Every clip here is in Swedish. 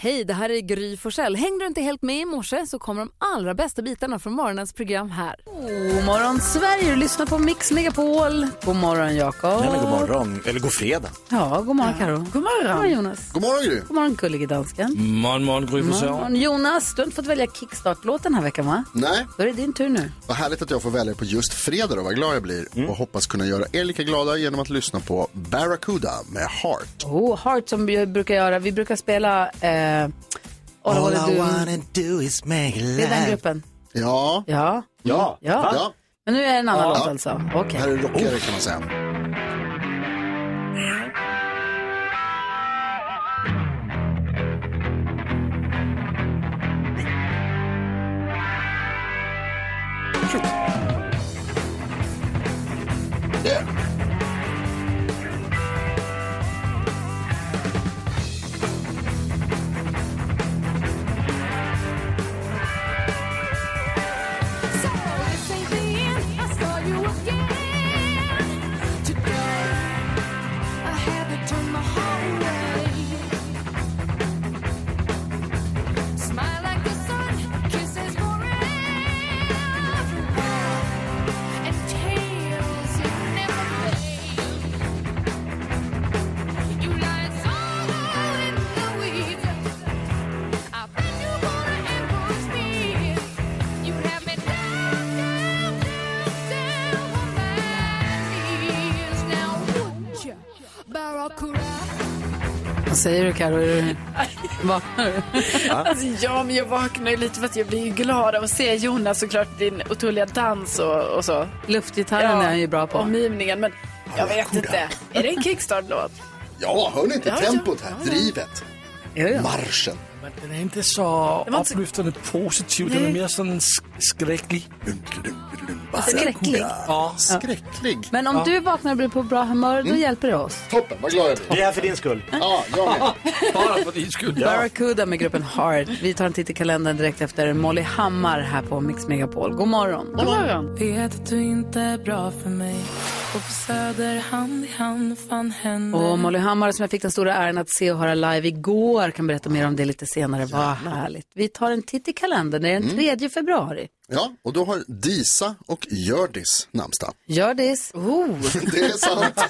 Hej, det här är Gry Forssell. Hängde du inte helt med i morse så kommer de allra bästa bitarna från morgonens program här. God morgon Sverige, du lyssnar på Mix Megapol. God morgon Jakob. Nej, men god morgon, eller god fredag. Ja, god morgon Karo. God morgon. God morgon Jonas. God morgon Gry. God morgon gullige dansken. Morgon, morgon, Gry Morgon Jonas, du har inte fått välja kickstart-låt den här veckan va? Nej, Då är det din tur nu. vad härligt att jag får välja på just fredag då, vad glad jag blir. Och hoppas kunna göra er lika glada genom att lyssna på Barracuda med Heart. Oh, Heart som vi brukar göra, vi brukar spela eh, All, I All wanna I do. wanna do is make Det är den love. gruppen. Ja, Ja. Ja. ja. ja. Men nu är det en annan låt alltså. Okej. här är rockigare kan man säga. Yeah. I bet you wanna ambush me. You have me down, down, down, down on my knees. Now would ya, Barracuda? Vad säger du Karo? Är du... Vaknar du? Alltså, ja, men jag vaknar ju lite för att jag blir ju glad av att se Jonas såklart, din otroliga dans och, och så. Luftgitarren är han ju bra på. Och mimningen, men jag vet inte. Är det en kickstart-låt? Ja, hör ni inte ja. tempot här? Drivet. Ja, ja. Marschen. Men den är inte så var inte så- upplyftande positiv, den är mer sån sk- skräcklig. Skräcklig. Ja. Skräcklig. Men om du vaknar och blir på bra humör, Mm. då hjälper det oss. Toppen, vad glad jag blir. Det är här för din skull. Ja, jag med. Bara för din skull. Barracuda med gruppen Heart. Vi tar en titt i kalendern direkt efter Molly Hammar här på Mix Megapol. God morgon. God morgon. Vet att du inte är bra för mig Och på Söder hand i hand fan händer Och Molly Hammar som jag fick den stora äran att se och höra live igår kan berätta mer om det lite senare. Vad härligt. Vi tar en titt i kalendern. Det är Mm. den 3 februari. Ja, och då har Disa och Hjördis namnsdag. Gördis. Oh. Det är sant.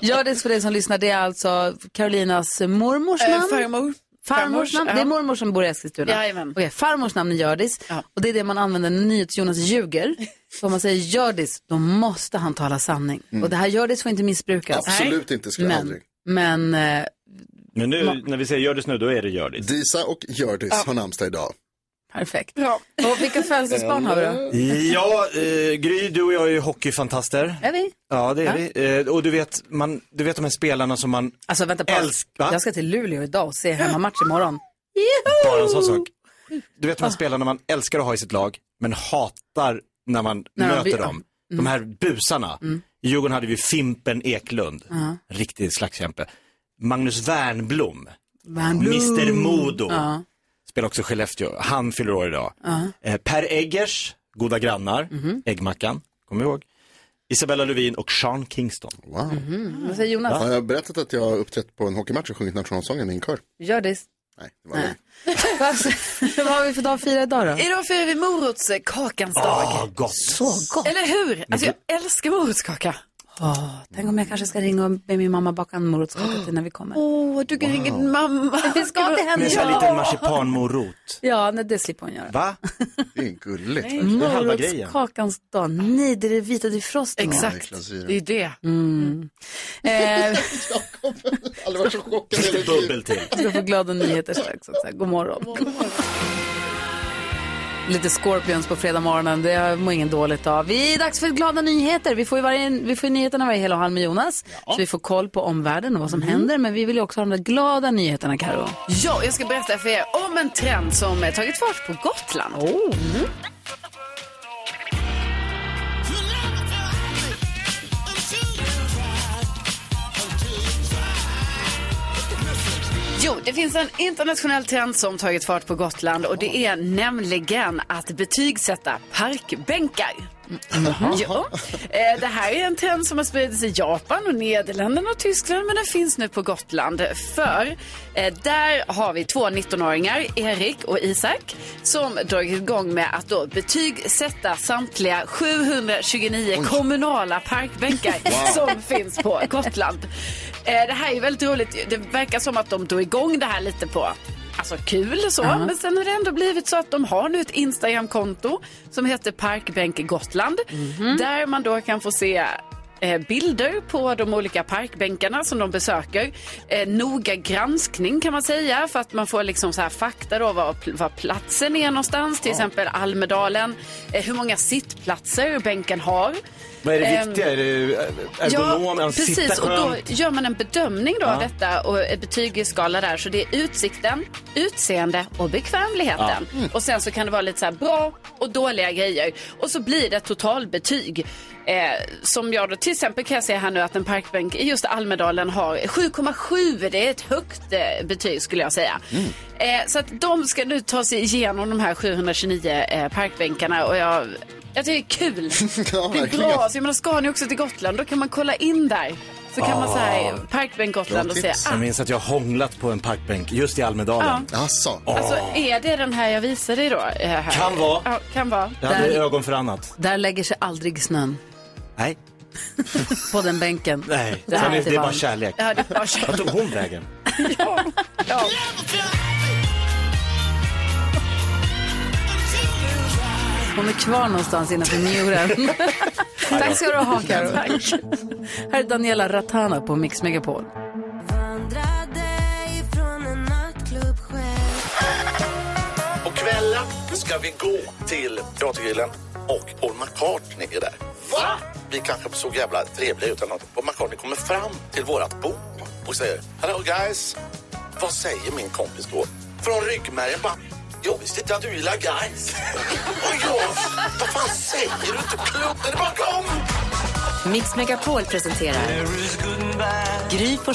Gördis för dig som lyssnar, det är alltså Carolinas mormors Eh, namn. farmor. Farmors namn, det är ja. mormor som bor i Eskilstuna. Jajamän. Okej, farmors namn är Gördis Ja. och det är det man använder när NyhetsJonas ljuger. Så om man säger Gördis, då måste han tala sanning. Och det här Gördis får inte missbrukas. Mm. Absolut inte, skulle jag Men, aldrig. men eh, Men nu när vi säger gör det nu, då är det gör det. Disa och Hjördis har namnsdag idag. perfekt. Ja. Och vilka födelsedagsbarn har vi då? Ja, eh, Gry, du och jag är ju hockeyfantaster. Är vi? Ja, det är vi. Eh, och du vet, man, du vet de här spelarna som man... Alltså vänta på. Älsk- Va? Jag ska till Luleå idag och se hemmamatch imorgon. Bara en sån sak. Ah. Du vet de här spelarna man älskar att ha i sitt lag, men hatar när man mm. När de möter blir- dem. De här busarna. I Djurgården hade vi Fimpen Eklund, riktig slagskämpe. Magnus Wernbloom, Van Blue. Mr Modo, Ja. spelar också i Skellefteå. Han fyller år idag. Eh, per Eggers, Goda grannar, Äggmackan, kommer ihåg. Isabella Lövin och Sean Kingston. Wow. Mhm. Ah. Vad säger Jonas? Har jag berättat att jag har uppträtt på en hockeymatch och sjungit nationalsången i en kör? Gördis. Nej, det var det. Vad har vi för dag att fira idag då? Idag firar vi morotskakans dag. Ah, gott. Så gott. Eller hur? Alltså, jag älskar morotskaka. Åh, tänk om jag kanske ska ringa och be min mamma baka en morotskaka till när vi kommer. Åh, du kan ringa din mamma. Vi ska till henne. Med en sån här liten marsipanmorot. Ja, nej, det slipper hon göra. Va? Det är gulligt. verkligen. Det är halva grejen. Morotskakans dag. Nej, det är det vita defrosten. Exakt, Klassiker. det är Mm. det. Eh, Aldrig varit så chockad i hela mitt liv. Bubbel till. vi ska få glada nyheter strax. Också. God morgon. Lite Scorpions på fredag morgonen, det mår ingen dåligt av. Vi är dags för glada nyheter. Vi får ju, varje, vi får ju nyheterna varje hel och halv med Jonas. Så vi får koll på omvärlden och vad som händer. Men vi vill ju också ha de där glada nyheterna, Karo. Ja, jag ska berätta för er om en trend som eh, tagit fart på Gotland. Jo, det finns en internationell trend som tagit fart på Gotland och det är nämligen att betygsätta parkbänkar. Ja. Eh, Det här är en trend som har spridits i Japan och Nederländerna och Tyskland men den finns nu på Gotland. För eh, där har vi två 19-åringar, Erik och Isak, som dragit igång med att då betygsätta samtliga 729 kommunala parkbänkar som finns på Gotland. Eh, Det här är väldigt roligt. Det verkar som att de drog igång det här lite på alltså kul så. Men sen har det ändå blivit så att de har nu ett Instagramkonto som heter Parkbänk Gotland. Där man då kan få se eh, bilder på de olika parkbänkarna som de besöker. Eh, noga granskning kan man säga för att man får liksom så här fakta då var, var platsen är någonstans, till exempel Almedalen, eh, hur många sittplatser bänken har. Vad är det Ehm, viktiga? Är det ergonom? Ja, att sitta precis. Och då skönt? gör man en bedömning då av detta och ett betyg i skala där. Så det är utsikten, utseende och bekvämligheten. Mm. Och sen så kan det vara lite så här bra och dåliga grejer. Och så blir det ett totalbetyg. Eh, som jag då, till exempel kan jag säga här nu att en parkbänk i just Almedalen har 7,7. Det är ett högt eh, betyg skulle jag säga. Mm. Eh, så att de ska nu ta sig igenom de här 729 eh, parkbänkarna och jag, jag tycker det är kul. Ja, Typ Det är verkligen. bra, så jag menar, ska ni också till Gotland då kan man kolla in där. Så kan man säga Ah. Parkbänk Gotland Bra och säga, tips. ah, Jag minns att jag hånglat på en parkbänk just i Almedalen. Jaså? alltså är det den här jag visar dig då? eh, Här? Kan vara. Ja, kan vara. Jag hade Där- ögon för annat. Där lägger sig aldrig snön Nej, på den bänken. nej. Det är Sen är, alltid det är bara varmt. kärlek. Ja, det var Vart tog hon vägen? ja. ja. Hon är kvar någonstans innanför njuren. Tack ska du ha, Karo. Här är Daniela Ratana på Mix Megapol. På kvällen ska vi gå till Teatergrillen och Paul McCartney är där. Va? Vi kanske såg jävla trevliga ut eller något. Paul McCartney kommer fram till vårat bord och säger Hello guys. Vad säger min kompis då? Från ryggmärgen bara jag visste inte att du gillar guys. Och jag, vad fan säger du inte klokt? Är det bara kom? Mix Megapol presenterar Gry på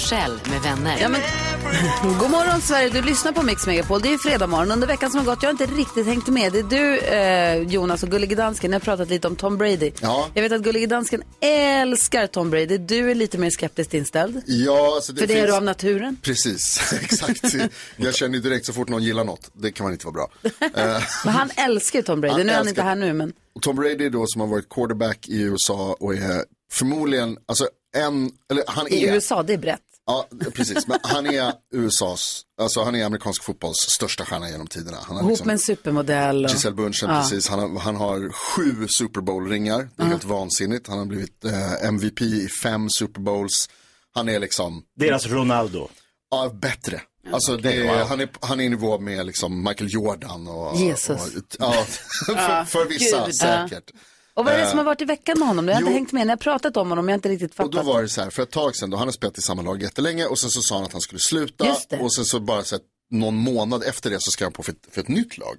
med vänner. Ja, men... God morgon Sverige, du lyssnar på Mix Megapol. Det är ju fredag morgon. Under veckan som har gått, jag har inte riktigt hängt med. Det är du eh, Jonas och Gullige Dansken, ni har pratat lite om Tom Brady. Ja. Jag vet att Gullige Dansken älskar Tom Brady. Du är lite mer skeptiskt inställd. Ja, alltså det För det är finns... du av naturen. Precis, exakt. Jag känner ju direkt så fort någon gillar något, det kan man inte vara bra. Eh, Men han älskar ju Tom Brady. Han nu är han älskar- inte här nu men. Och Tom Brady då som har varit quarterback i USA och är förmodligen, alltså en, eller han I är, USA, det är brett. ja precis, men han är USAs, alltså han är amerikansk fotbolls största stjärna genom tiderna. Han har liksom- Ihop med en supermodell. Och... Giselle Bündchen, precis, han har, han har sju Super Bowl-ringar, det är helt vansinnigt. Han har blivit eh, MVP i fem Super Bowls, han är liksom, Deras Ronaldo. ja bättre. Alltså det är, han, är, han är i nivå med liksom Michael Jordan och... Jesus. Och, ja, för, för vissa Gud. säkert. Och vad är det som har varit i veckan med honom? Jag har inte jo. hängt med. När jag har pratat om honom, jag har inte riktigt Och då fattat. var det så här, för ett tag sedan, då han har spelat i samma lag jättelänge och sen så sa han att han skulle sluta Just det. och sen så bara så här, någon månad efter det så skrev han på för ett, för ett nytt lag.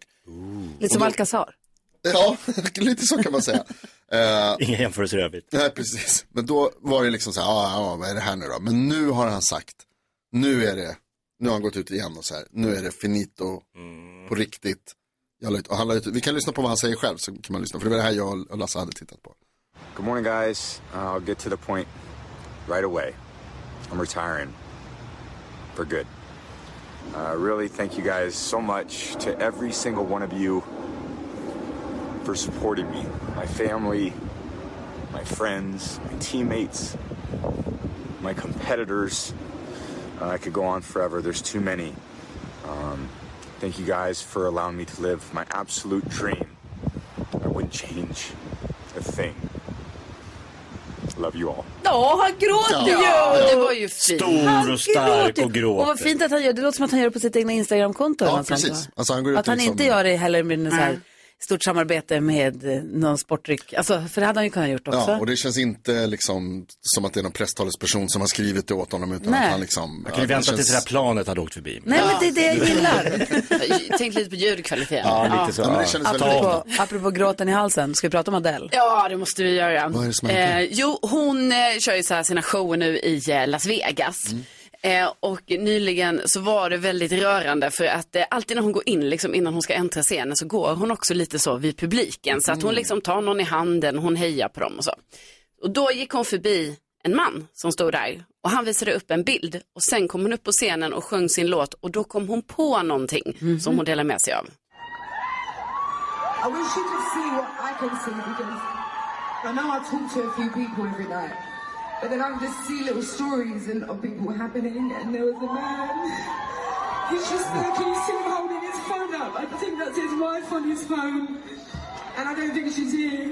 Lite som Alcazar. Ja, lite så kan man säga. Eh, Inga jämförelser i övrigt. nej, precis. Men då var det liksom så här, ah, ah, vad är det här nu då? Men nu har han sagt, nu är det, nu har han gått ut igen och så här, nu är det finito Mm. på riktigt. Jag la ut, och han la ut, vi kan lyssna på vad han säger själv så kan man lyssna, för det var det här jag och Lasse hade tittat på. Good morning, guys. Uh, I'll get to the point right away. I'm retiring for good. Uh, really, thank you guys so much to every single one of you for supporting me, my family, my friends, my teammates, my competitors. Uh, I could go on forever. There's too many. Um, thank you guys for allowing me to live my absolute dream. I wouldn't change a thing. Love you all. Ja, han gråter ju! Det var ju fint. Stor och stark gråter. och gråter. Och vad fint att han gör det. låter som att han gör det på sitt egna Instagramkonto. eller Ja, något sånt, precis. va? Alltså, han går ut Att han liksom- inte gör det heller med en så här stort samarbete med eh, någon sportdryck. Alltså, för det hade han ju kunnat gjort också. Ja, och det känns inte liksom som att det är någon presstalesperson som har skrivit det åt honom utan Nej. att han liksom... Man kan ju ja, det vänta tills det känns- här planet hade åkt förbi. Nej, men det är det jag gillar. Tänk lite på ljudkvaliteten. Ja, lite så. Ja, men det kändes väldigt apropå, apropå gråten i halsen, ska vi prata om Adele? Ja, det måste vi göra. Vad är det som händer? Eh, jo, hon eh, kör ju så här sina shower nu i eh, Las Vegas. Eh, och nyligen så var det väldigt rörande för att eh, alltid när hon går in, liksom innan hon ska äntra scenen, så går hon också lite så vid publiken. Så att hon Mm. liksom tar någon i handen, hon hejar på dem och så. Och då gick hon förbi en man som stod där och han visade upp en bild och sen kom hon upp på scenen och sjöng sin låt och då kom hon på någonting som hon delade med sig av. I wish you could see what I can see because I know I talk to a few people every night, but then I just see little stories and of people happening. And there was a man. He's just there. Can you see him holding his phone up? I think that's his wife on his phone, and I don't think she's here.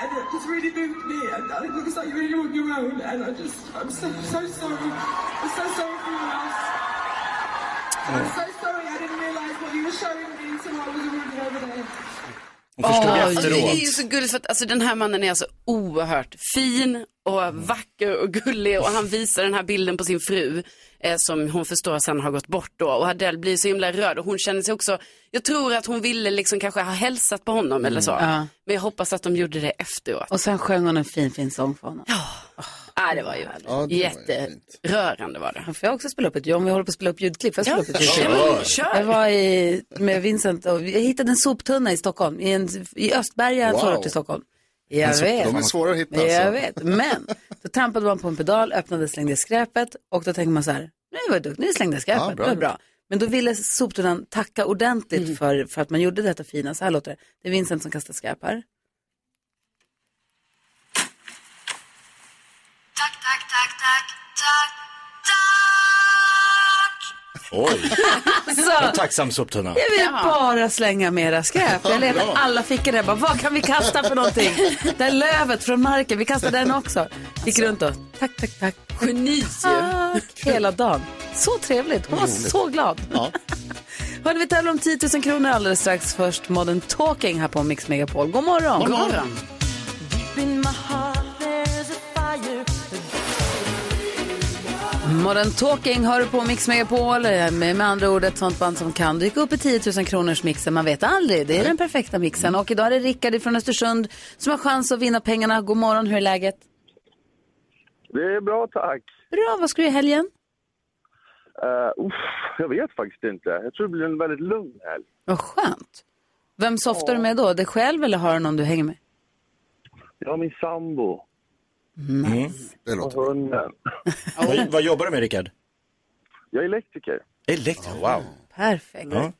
And it just really moved me. And it looks like you're really on your own. And I just, I'm so, so sorry. I'm so sorry for your loss. I'm so sorry. I didn't realise what you were showing me until I was already over there. Hon förstod Åh, efteråt. alltså, Det är ju så gulligt för att alltså, den här mannen är alltså oerhört fin och vacker och gullig och han visar den här bilden på sin fru eh, som hon förstår sen har gått bort då och Adele blir så himla rörd och hon känner sig också, jag tror att hon ville liksom kanske ha hälsat på honom eller så. Mm. Ja. Men jag hoppas att de gjorde det efteråt. Och sen sjöng hon en fin, fin sång för honom. Ja. ah, det var ju jätterörande var det. Får jag också spela upp ett ljud? Om vi håller på att spela upp ljudklipp, får jag Ja, spela upp ett ljudklipp? kör. Kör. Jag var i, med Vincent och vi- jag hittade en soptunna i Stockholm, i, en, i Östberga, en Wow. förort till Stockholm. En Jag soptunna. vet. De är svåra att hitta, Jag alltså. vet, men då trampade man på en pedal, öppnade, slängde skräpet och då tänker man så här, nu var jag duktig, nu slängde jag skräpet, Ja, bra. det var bra. Men då ville soptunnan tacka ordentligt Mm. för, för att man gjorde detta fina. Så här låter det. Det är Vincent som kastar skräp här. Tack, tack, tack, tack, tack, tack. Oj. Så. En tacksam soptunna. Jag vill bara slänga mera skräp. Jag letar Bra. alla fickor där. Bara, vad kan vi kasta för någonting? Det här lövet från marken, vi kastar den också. Alltså. Gick runt och tack, tack, tack. Geni Tack, hela dagen. Så trevligt. Hon var Roligt. så glad. Hörde vi tävlar om 10 000 kronor alldeles strax. Först Modern Talking här på Mix Megapol. God morgon. God morgon. Modern Talking hör du på Mix Megapol. Med, med andra ord ett sånt band som kan dyka upp i 10 000 kronors mixen. Man vet aldrig. Det är den perfekta mixen. Och idag är det Rickard från Östersund som har chans att vinna pengarna. God morgon, hur är läget? Det är bra, tack. Bra, vad ska du göra i helgen? Uh, uff, jag vet faktiskt inte. Jag tror det blir en väldigt lugn helg. Vad skönt. Vem softar du med då? Dig själv eller har du någon du hänger med? Jag och min sambo. Nice. Det låter och hunden. Mm. Vad, vad jobbar du med, Rickard? Jag är elektriker. Elektriker? Wow. Perfekt. Ja.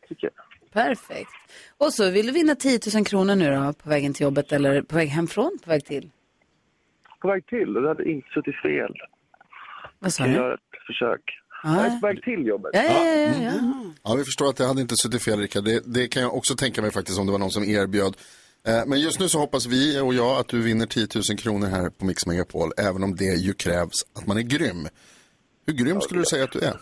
Perfekt. Och så vill du vinna 10 000 kronor nu då på vägen till jobbet eller på väg hemifrån, på väg till? På väg till, och det hade inte suttit fel. Vad sa Jag du? gör ett försök. Ja. Jag är på väg till jobbet. Ja, ja, ja, ja. Ja, vi förstår att det hade inte suttit fel, Rickard. Det, det kan jag också tänka mig faktiskt om det var någon som erbjöd. Eh, Men just nu så hoppas vi och jag att du vinner 10 000 kronor här på Mix Megapol, även om det ju krävs att man är grym. Hur grym skulle du säga att du är? Uh,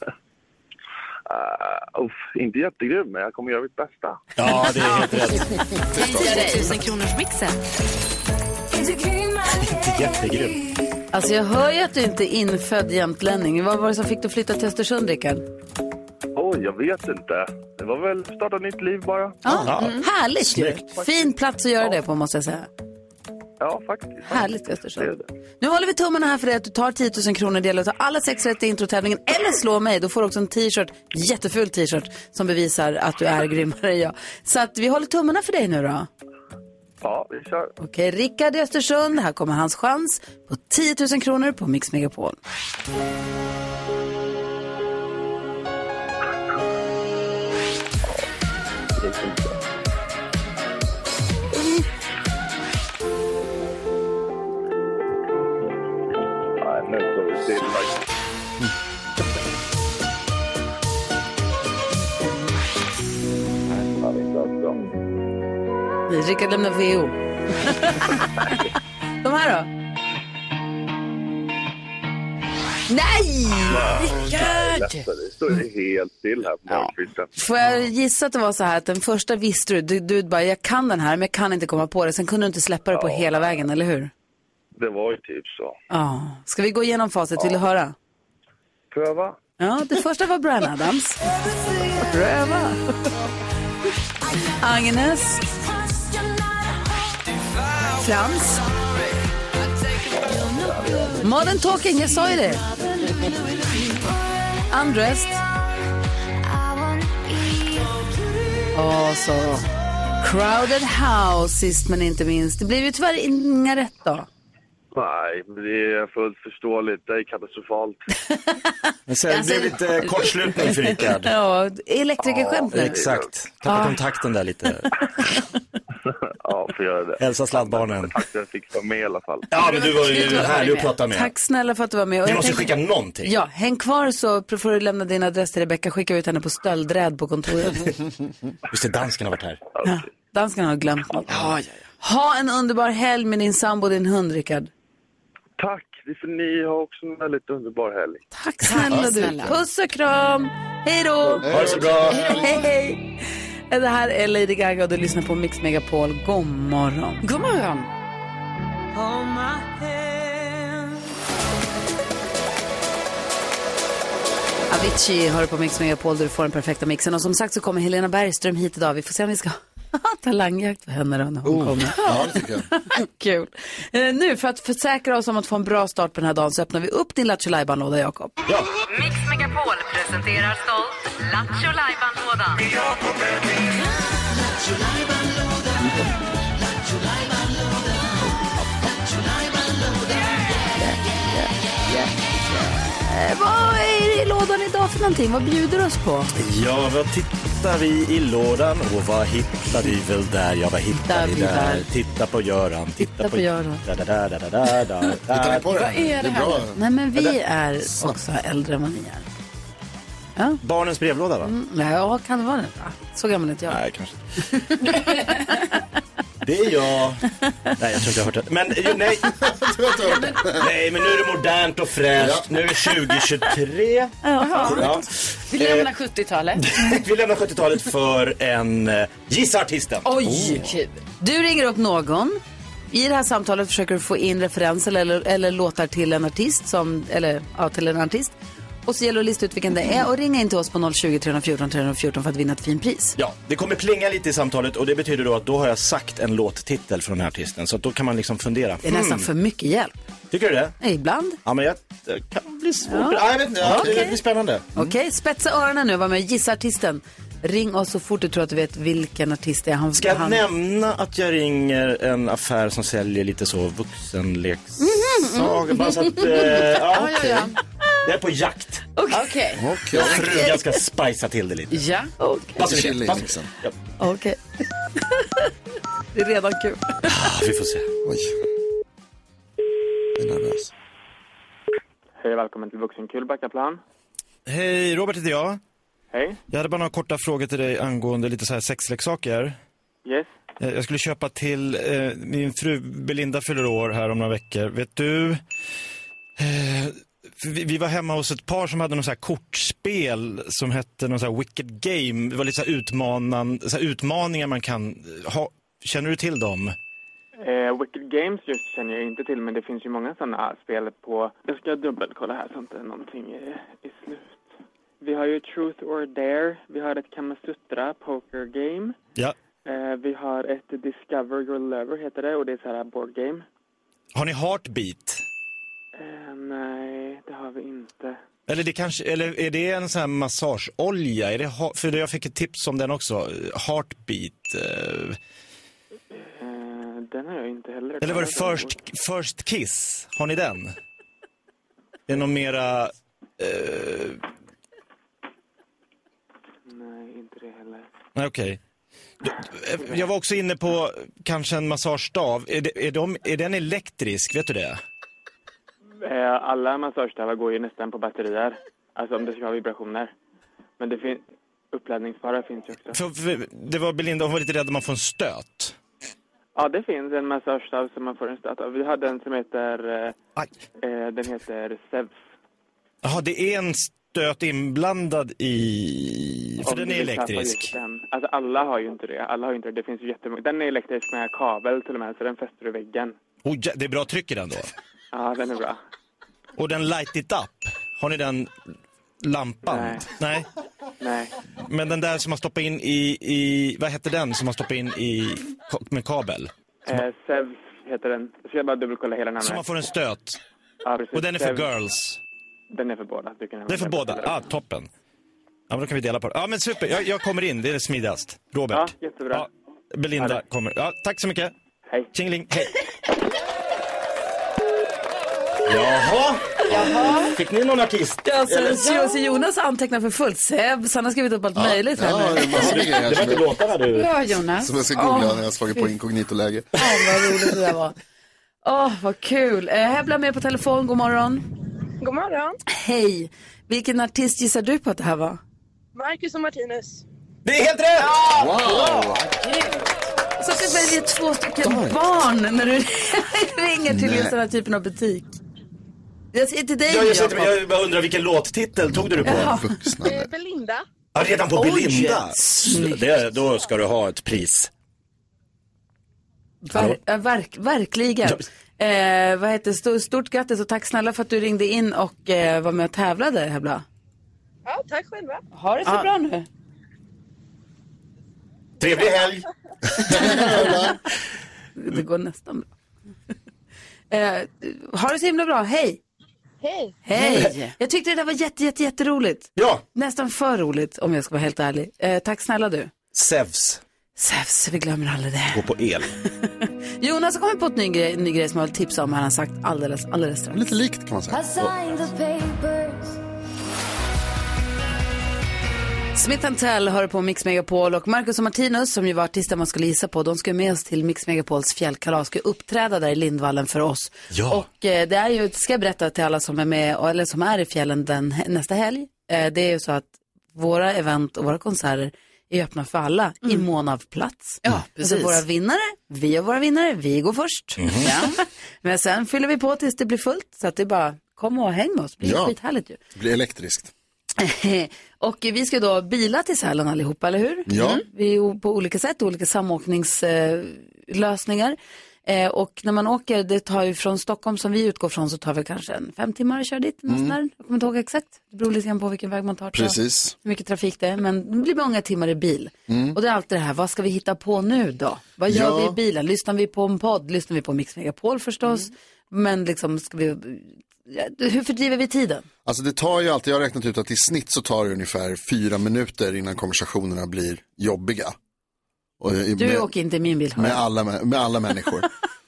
uff, inte jättegrym, men jag kommer göra mitt bästa. Ja, det är helt rätt. 000 kronors mixen. Inte jättegrym. Alltså jag hör ju att du inte är infödd jämtlänning. Vad var det som fick dig att flytta till Östersund, Rickard? Oj, jag vet inte. Det var väl starta nytt liv bara. Ja, mm. Härligt ju. Fin plats att göra det på måste jag säga. Ja, faktiskt. Härligt Östersund. Nu håller vi tummarna här för dig att du tar 10 000 kronor, det gäller att ta alla sex rätt i introtävlingen eller slå mig. Då får du också en t-shirt, jätteful t-shirt, som bevisar att du är grymmare än jag. Så att vi håller tummarna för dig nu då. Ja, vi kör. Okej, Rickard i Östersund, här kommer hans chans på 10 000 kronor på Mix Megapol. Nej, nu står vi still faktiskt. Nej, fan, inte alls bra. Rickard lämnar VO. De här då? Nej! Rickard! Det står ju helt still här på morgonkvisten. Får jag gissa att det var så här att den första visste du, du, du bara jag kan den här men jag kan inte komma på det. Sen kunde du inte släppa det på hela vägen, eller hur? Det var ju typ så. Ja. Ska vi gå igenom facit? Vill du höra? Pröva. Ja, det första var Brian Adams. Pröva. Agnes. Frans. Modern Talking, jag sa ju det. Undressed. Och så Crowded House sist men inte minst. Det blev ju tyvärr inga rätt då. Nej, men det är fullt förståeligt. Det är katastrofalt. Men sen Alltså- blev det lite kortslutning för Rickard. ja, elektrikerskämt nu. Exakt. Tappade Ja. kontakten där lite. ja, får göra det. Hälsa sladdbarnen. Tack för att jag fick vara med i alla fall. Ja, men du var ju härlig att prata med. Tack snälla för att du var med. Och Vi jag måste tänker- skicka någonting. Ja, häng kvar så får du lämna din adress till Rebecka. Skicka ut henne på stöldräd på kontoret. Just det, dansken har varit här. ja, danskarna har glömt något. Ha en underbar helg med din sambo och din hund, Rickard. Tack! Det får ni ha också en väldigt underbar helg. Tack snälla du. snälla. Puss och kram. Hej då. Ha det så bra. Hej, hej. Det här är Lady Gaga och du lyssnar på Mix Megapol. God morgon. God morgon. Avicii hör på Mix Megapol där du får den perfekta mixen. Och som sagt så kommer Helena Bergström hit idag. Vi får se om vi ska ha talangjakt på henne då när hon Oh, kommer. Ja, det tycker jag. Kul. Eh, nu för att försäkra oss om att få en bra start på den här dagen så öppnar vi upp din Lattjo Lajban-låda, Jakob. Mix Megapol presenterar stolt Lattjo Lajban-lådan. Eh, vad är det i lådan idag för någonting? Vad bjuder oss på? Ja, vad tittar vi i lådan och vad hittar vi väl där? Ja, vad hittar vi vi där? där? Titta på Göran, titta på på Göran. Da, da, da, da, da, da, da. Hittar ni på det? Vad är det här? Nej, men vi Ja, det- är också äldre än vad ni är. Äh, Barnens brevlåda, va? Mm, nej, ja, kan det vara det? Va? Så gammal är inte jag. Nej, kanske Det är jag. Nej, jag tror inte jag har hört det. Men ju, nej. nej, men nu är det modernt och fräscht. Nu är det 2023. Ja. Eh, Vi lämnar 70-talet. Vi lämnar 70-talet för en eh, Gissa artisten. Oj! Kul. Oh. Du ringer upp någon. I det här samtalet försöker du få in referenser eller, eller låtar till en artist. Som, eller, ja, till en artist. Och så gäller det att lista ut vilken det är och ringa in till oss på 020 314 314 för att vinna ett fint pris. Ja, det kommer plinga lite i samtalet och det betyder då att då har jag sagt en låttitel från den här artisten. Så att då kan man liksom fundera. Det är nästan Hmm, för mycket hjälp. Tycker du det? Nej, Ibland. Ja, men jag det kan bli svårt. Ja. Ja. jag vet inte. Ja, Okej. Det blir spännande. Okej, spetsa öronen nu. Var med och gissa artisten. Ring oss så fort du tror att du vet vilken artist det är. Han, Ska jag han... nämna att jag ringer en affär som säljer lite så vuxenleksaker? Bara så att, eh, ja, okej. Jag är på jakt. Okej. Jag och frugan ska spicea till det lite. Ja. Bara så ni vet, Chili bara så- mixen. Ja, Okej. det är redan kul. vi får se. Oj. Jag är nervös. Hej och välkommen till Vuxenkul Backaplan. Hej, Robert heter jag. Hej. Jag hade bara några korta frågor till dig angående lite så här sexleksaker. Yes. Eh, Jag skulle köpa till eh, min fru Belinda fyller år här om några veckor. Vet du, eh, vi, vi var hemma hos ett par som hade något så här kortspel som hette någon så här Wicked Game. Det var lite så här, utmanan, så här utmaningar man kan ha. Känner du till dem? Eh, Wicked Games just känner jag inte till, men det finns ju många sådana spel på... Jag ska dubbelkolla här så inte någonting är, är slut. Vi har ju Truth or Dare, vi har ett Kamasutra Poker Game. Ja. Eh, vi har ett Discover Your Lover heter det och det är så här board game. Har ni Heartbeat? Eh, nej, det har vi inte. Eller, det kanske, eller är det en sån här massageolja? Är det, ha- för jag fick ett tips om den också. Heartbeat. eh, Eh, den har jag inte heller. Eller var det kollat. first, first Kiss? Har ni den? Det är någon mera... eh, Nej, inte det heller. nej, okej. Du- eh, Jag var också inne på kanske en massagestav. Är, det, är, de, är den elektrisk? Vet du det? Eh, Alla massagestavar går ju nästan på batterier, alltså om det ska ha vibrationer. Men det finns uppladdningsbara finns ju också. För, för, det var Belinda, hon var lite rädd att man får en stöt. Ja, det finns en massagestav som man får en stöt av. Vi hade en som heter, eh, eh, den heter Zeus. Jaha, det är en stöt inblandad i... För Om den du är vill tappa elektrisk. just den. Alltså alla har ju inte det. Alla har ju inte det. Det finns ju jättemånga. Den är elektrisk med kabel till och med, så den fäster du i väggen. Oh, ja, det är bra tryck i den då. Ja, den är bra. Och den light it up. Har ni den lampan? Nej. Nej. Nej. Men den där som man stoppar in i, i vad hette den som man stoppar in i ka- med kabel? Eh, Zeus heter den. Jag ska bara dubbelkolla hela namnet. Som man får en stöt. Ja, precis. Och den är för Zeus. girls. Den är för båda. Du kan Det är för båda? Ah, toppen. Ja, men då kan vi dela på det. Ja, men super. Jag, jag kommer in. Det är smidigast. Ja, Robert. jättebra. Belinda kommer. Ja, tack så mycket. Hej. Tjingeling. Hej. Jaha. Fick ni någon artist? Eller- Alltså, Jo- så Jonas antecknar för fullt. Seb, han har skrivit upp allt möjligt här nu. Det var inte låtarna du... Bra, Jonas. Som jag ska googla Åh, när jag slagit fy. på inkognito-läge. Fan vad roligt det där var. Åh, vad kul. Eh, Hebla med på telefon. God morgon. God morgon. Hej. Vilken artist gissar du på att det här var? Marcus och Martinus. Det är helt rätt! Wow! Så att du väljer två stycken barn när du ringer till Nej. just den här typen av butik. Jag säger till dig, Jag, jag, sitter, Jakob. jag bara undrar vilken låttitel tog du på? Jaha. Belinda. Ja, redan på Oj, Belinda. snyggt. Det, då ska du ha ett pris. Ver, ja, äh, verk, verkligen. Eh, vad heter, stort, stort grattis och tack snälla för att du ringde in och eh, var med och tävlade, Hebla. Ja, tack själva. Ha det så bra nu. Trevlig helg! Det går nästan bra. eh, ha det så himla bra. Hej! Hej. Hej! Jag tyckte det där var jätte, jätte, jätteroligt. Ja. Nästan för roligt om jag ska vara helt ärlig. Eh, tack snälla du. Sevs. Sevs, vi glömmer aldrig det. Gå på el. Jonas har kommit på ett ny grej, ny grej som jag vill tipsa om här. Han har sagt alldeles, alldeles strax. Lite likt kan man Smith Tell hör på Mix Megapol och Marcus och Martinus som ju var artister man skulle gissa på, de ska ju med oss till Mix Megapols fjällkalas, ska ju uppträda där i Lindvallen för oss. Ja. Och eh, det är ju, ska jag berätta till alla som är med, eller som är i fjällen den, he- nästa helg, eh, det är ju så att våra event och våra konserter är öppna för alla i mån av plats. Ja, precis. våra vinnare, vi är våra vinnare, vi går först. Ja. Men sen fyller vi på tills det blir fullt, så att det är bara kom och häng med oss, det blir Ja. skithärligt ju. Det blir elektriskt. och vi ska då bila till Sälen allihopa, eller hur? Mm. Ja. Vi är o- på olika sätt, olika samåkningslösningar. Eh, och när man åker, det tar ju från Stockholm som vi utgår från så tar vi kanske en fem timmar att köra dit. Mm. Mm. Där. Jag kommer inte ihåg exakt, det beror lite grann på vilken väg man tar. tror jag. Precis. Hur mycket trafik det är, men det blir många timmar i bil. Mm. Och det är alltid det här, vad ska vi hitta på nu då? Vad gör Ja. vi i bilen? Lyssnar vi på en podd? Lyssnar vi på Mix Megapol förstås? Mm. Men liksom, ska vi, hur fördriver vi tiden? Alltså det tar ju alltid, jag har räknat ut att i snitt så tar det ungefär fyra minuter innan konversationerna blir jobbiga. Och, i- Du med- åker inte i min bil. hör Med jag. alla, mä- med alla människor.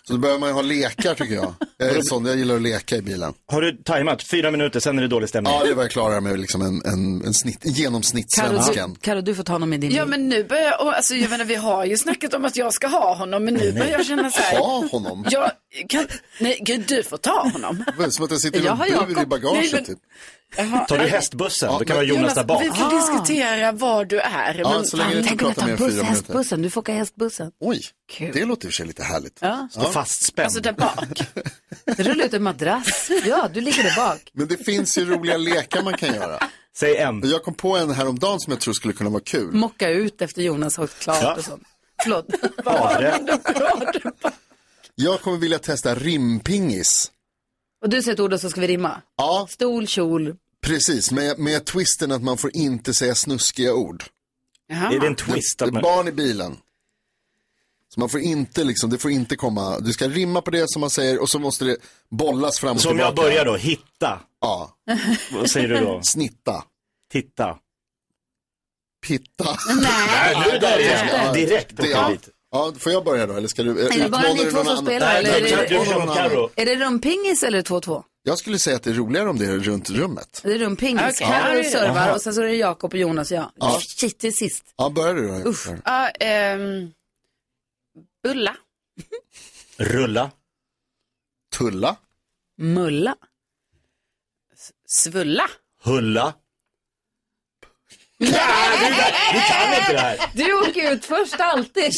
Så då behöver man ju ha lekar tycker jag. Jag är en sån, jag gillar att leka i bilen. Har du tajmat? Fyra minuter, sen är det dålig stämning. Ja, det var jag klarare med liksom en, en, en snitt, genomsnittssvensken. Karo, du får ta honom i din Ja men nu börjar jag, och, alltså jag menar vi har ju snackat om att jag ska ha honom men nu börjar jag känna så här. Ha honom. Jag kan, nej gud du får ta honom. Det är Som att jag sitter i Jag en har bur i Jakob. Nej, bagaget men- typ. Jaha. Tar du hästbussen? då kan men- vara Jonas där bak. Vi får diskutera var du är. Ah. Ja, så länge fan, du inte tänk Ah, om jag pratar tar mer än buss, fyra minuter. hästbuss. Bussen, du får åka hästbussen. Oj, det låter i och för sig lite härligt. Ja. Stå fastspänd. Alltså där bak. Rulla ut en madrass. Ja, du ligger där bak. Men det finns ju roliga lekar man kan göra. Säg en. Jag kom på en häromdagen som jag tror skulle kunna vara kul. Mocka ut efter Jonas har klart Ja. och sånt. Förlåt. Jag kommer vilja testa rimpingis. Och du säger ett ord och så ska vi rimma. Ja. Stol, kjol. Precis, med, med twisten att man får inte säga snuskiga ord. Jaha. Är det en twist Det, att det är man- barn i bilen. Så man får inte liksom, det får inte komma, du ska rimma på det som man säger och så måste det bollas fram och Så om jag tillbaka. börjar då, hitta. Ja. Vad säger du då? Snitta. Titta. Pitta. Nej, nu där är det. Direkt det, åker ja. dit. ja, får jag börja då eller ska du? Är det bara ni två som spelar? Eller är det, Karo. är det rumpingis eller 2-2? Jag skulle säga att det är roligare om det är runt rummet. Det är rumpingis. Okej. Karo Ja. servar Aha. och sen så är det Jakob och Jonas och jag. Ja. Shit, det är sist. Ja, börjar du då? Usch. Ja, ehm, bulla. Rulla. Tulla. Mulla. Svulla. Hulla. Du kan inte det här. Du åker ut först alltid.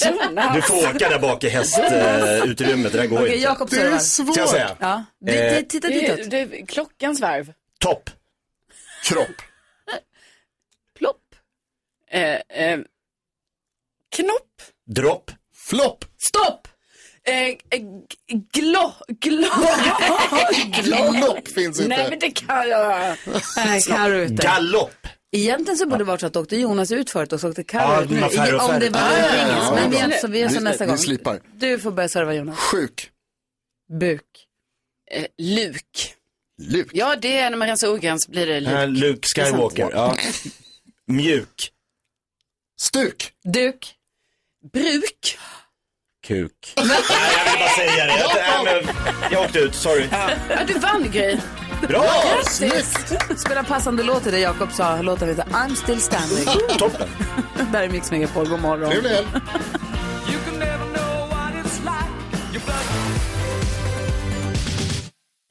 Du får åka där bak i hästutrymmet, det där går Okej, inte. Jakob Ska servar. jag säga? Ja. Du, Eh, du, titta ditåt. Det är klockans varv. Topp. Kropp. Plopp. Eh, eh, knopp. Dropp. Flopp. Stopp! Eh, eh, g- glå, glå. Galopp finns inte. Nej men det kan jag. Nej, Karo är ute. Galopp. Egentligen så borde det varit så att åkte Jonas ut förut och så åkte Ja, Carro ut det nu. var färre och Om det färre. var Ah, ja, en ja, ringis. ja, Men ja. vi är så, vi är så Ni- nästa ni gång. slipar. Du får börja serva Jonas. Sjuk. Buk. Eh, luk. Luke? Ja, det är när man rensar ogräs blir det Äh, Eh, Luke. Luke Skywalker. Ja. Mjuk. Stuk. Duk. Bruk. Kuk. Nej, jag vill bara säga det. Jag, nej, men, jag åkte ut, sorry. Ja, du vann Gry. Bra! Grattis! Spela passande låt till det Jakob sa. Låten heter I'm still standing. Toppen. Där är Mix Megapol. God morgon. Trevlig helg.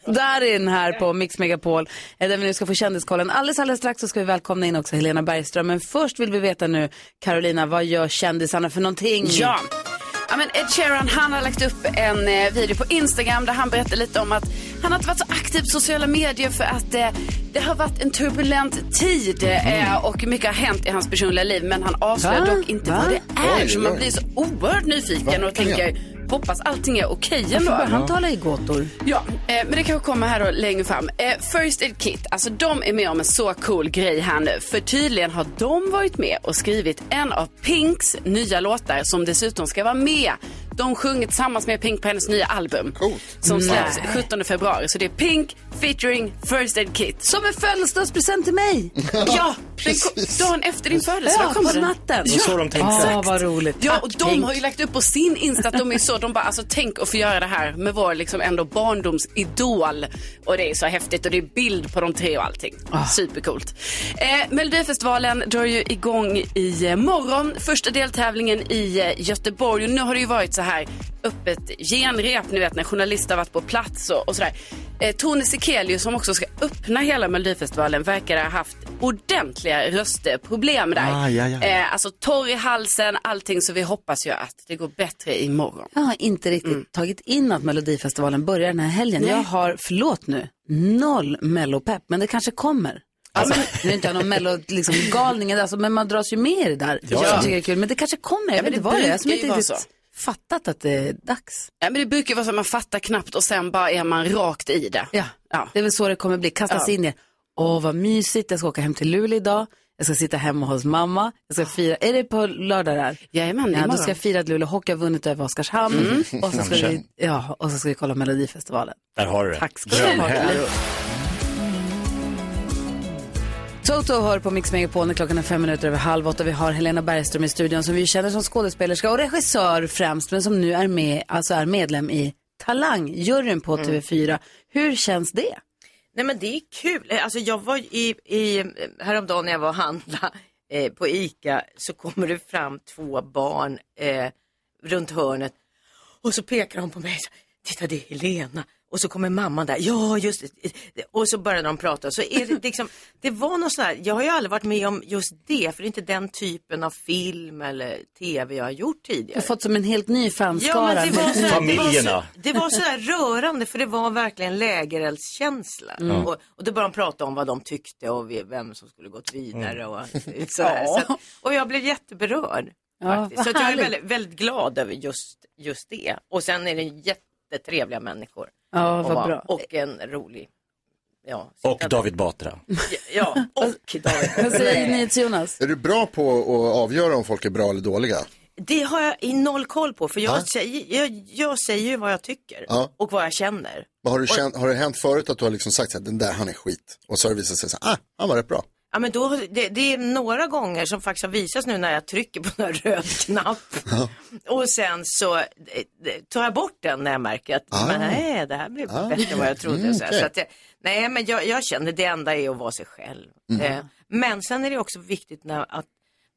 Darin här på Mix Megapol, eh, där vi nu ska få kändiskollen. Alldeles, alldeles strax så ska vi välkomna in också Helena Bergström. Men först vill vi veta nu, Carolina, vad gör kändisarna för någonting? Ja. Ja, men Ed Sheeran han har lagt upp en eh, video på Instagram där han berättar lite om att han har inte varit så aktiv på sociala medier för att eh, det har varit en turbulent tid eh, och mycket har hänt i hans personliga liv. Men han avslöjar Mhm. Va? dock inte Va? vad det är. Oj, så man oj. blir så oerhört nyfiken och Verkligen. tänker hoppas allting är okej Varför ändå. börjar han tala i gåtor? Ja, eh, men det kanske kommer här då längre fram. Eh, First Aid Kit, alltså de är med om en så cool grej här nu. För tydligen har de varit med och skrivit en av Pinks nya låtar som dessutom ska vara med. De sjunger tillsammans med Pink på hennes nya album. Som släpps Nej. 17 februari. Så det är Pink featuring First Aid Kit. Som en födelsedagspresent till mig! Ja, den kom, dagen efter din födelsedag Ja, kommer på den. natten. Ja, Så de tänkte. exakt. Ja, vad roligt. Ja, Tack, och de Pink. har ju lagt upp på sin Insta att de är så, de bara alltså tänk att få göra det här med vår liksom ändå barndomsidol. Och det är så häftigt och det är bild på de tre och allting. Supercoolt. Eh, Melodifestivalen drar ju igång i eh, morgon. Första deltävlingen i eh, Göteborg och nu har det ju varit så här öppet genrep, ni vet när journalister har varit på plats och, och sådär. Eh, Tone Sekelius som också ska öppna hela Melodifestivalen verkar ha haft ordentliga röstproblem där. Ah, ja, ja. Eh, alltså torr i halsen, allting, så vi hoppas ju att det går bättre imorgon. Jag har inte riktigt tagit in att Melodifestivalen börjar den här helgen. Mm. Nej. Jag har, förlåt nu, noll mellopepp, men det kanske kommer. Alltså, nu är inte jag någon mellogalning, liksom, galning, alltså, men man dras ju med i det där. Ja, Jag ja. tycker det är kul, men det kanske kommer, jag Ja, vet men det inte vad det är. Som brukar inte ju vara riktigt fattat att det är dags. Ja, men det brukar ju vara så att man fattar knappt och sen bara är man rakt i det. Ja, det är väl så det kommer bli. Kastas Ja. in i det. Åh, vad mysigt. Jag ska åka hem till Luleå idag. Jag ska sitta hemma hos mamma. Jag ska fira. Är det på lördag där? Jajamän, ja, Då imorgon. ska jag fira att Luleå Hockey har vunnit över Oskarshamn. Mm. Och, så ska vi, Namnkänn. ja, och så ska vi kolla Melodifestivalen. Där har du det. Tack ska du ha. Drömhelg. Toto hör på Mix Megapol när klockan är fem minuter över halv åtta. Vi har Helena Bergström i studion som vi känner som skådespelerska och regissör främst, men som nu är, med, alltså är medlem i Talangjuryn på Mm. TV4. Hur känns det? Nej men det är kul. Eh, Alltså jag var i, i häromdagen när jag var och handla eh, på ICA så kommer det fram två barn eh, runt hörnet och så pekar de på mig. Så, Titta det är Helena. Och så kommer mamman där. Ja just det. Och så börjar de prata. Så är det liksom, det var något sånt här. Jag har ju aldrig varit med om just det. För det är inte den typen av film eller tv jag har gjort tidigare. Du har fått som en helt ny Ja, fanskara. men det var så här, Det var Familjerna. så, det var så här rörande för det var verkligen lägereldskänsla. Mm. Och, och då började de prata om vad de tyckte och vi- vem som skulle gått vidare. Och, Mm. så här. Ja. Så att, och jag blev jätteberörd. Ja, faktiskt. vad så att jag är härligt. väldigt, väldigt glad över just, just det. Och sen är det jättetrevliga människor. Ja, Och vad var- bra. Och en rolig, ja. Och David Batra. ja Alltså- och Vad säger ni, Jonas? Är du bra på att avgöra om folk är bra eller dåliga? Det har jag i noll koll på för Va? jag säger, jag, jag säger ju vad jag tycker Ja. och vad jag känner. Men har, du Och- känt, har det hänt förut att du har liksom sagt så här, den där han är skit. Och så har det visat sig så här, ah, han var rätt bra. Ja, men då, det, det är några gånger som faktiskt har visats nu när jag trycker på en röd knapp. Och sen så eh, tar jag bort den när jag märker att Ah. nej, det här blev Ah. bättre än vad jag trodde. Mm, så här. okej. så att jag, nej, men jag, jag känner det enda är att vara sig själv. Mm. Eh, men sen är det också viktigt när, att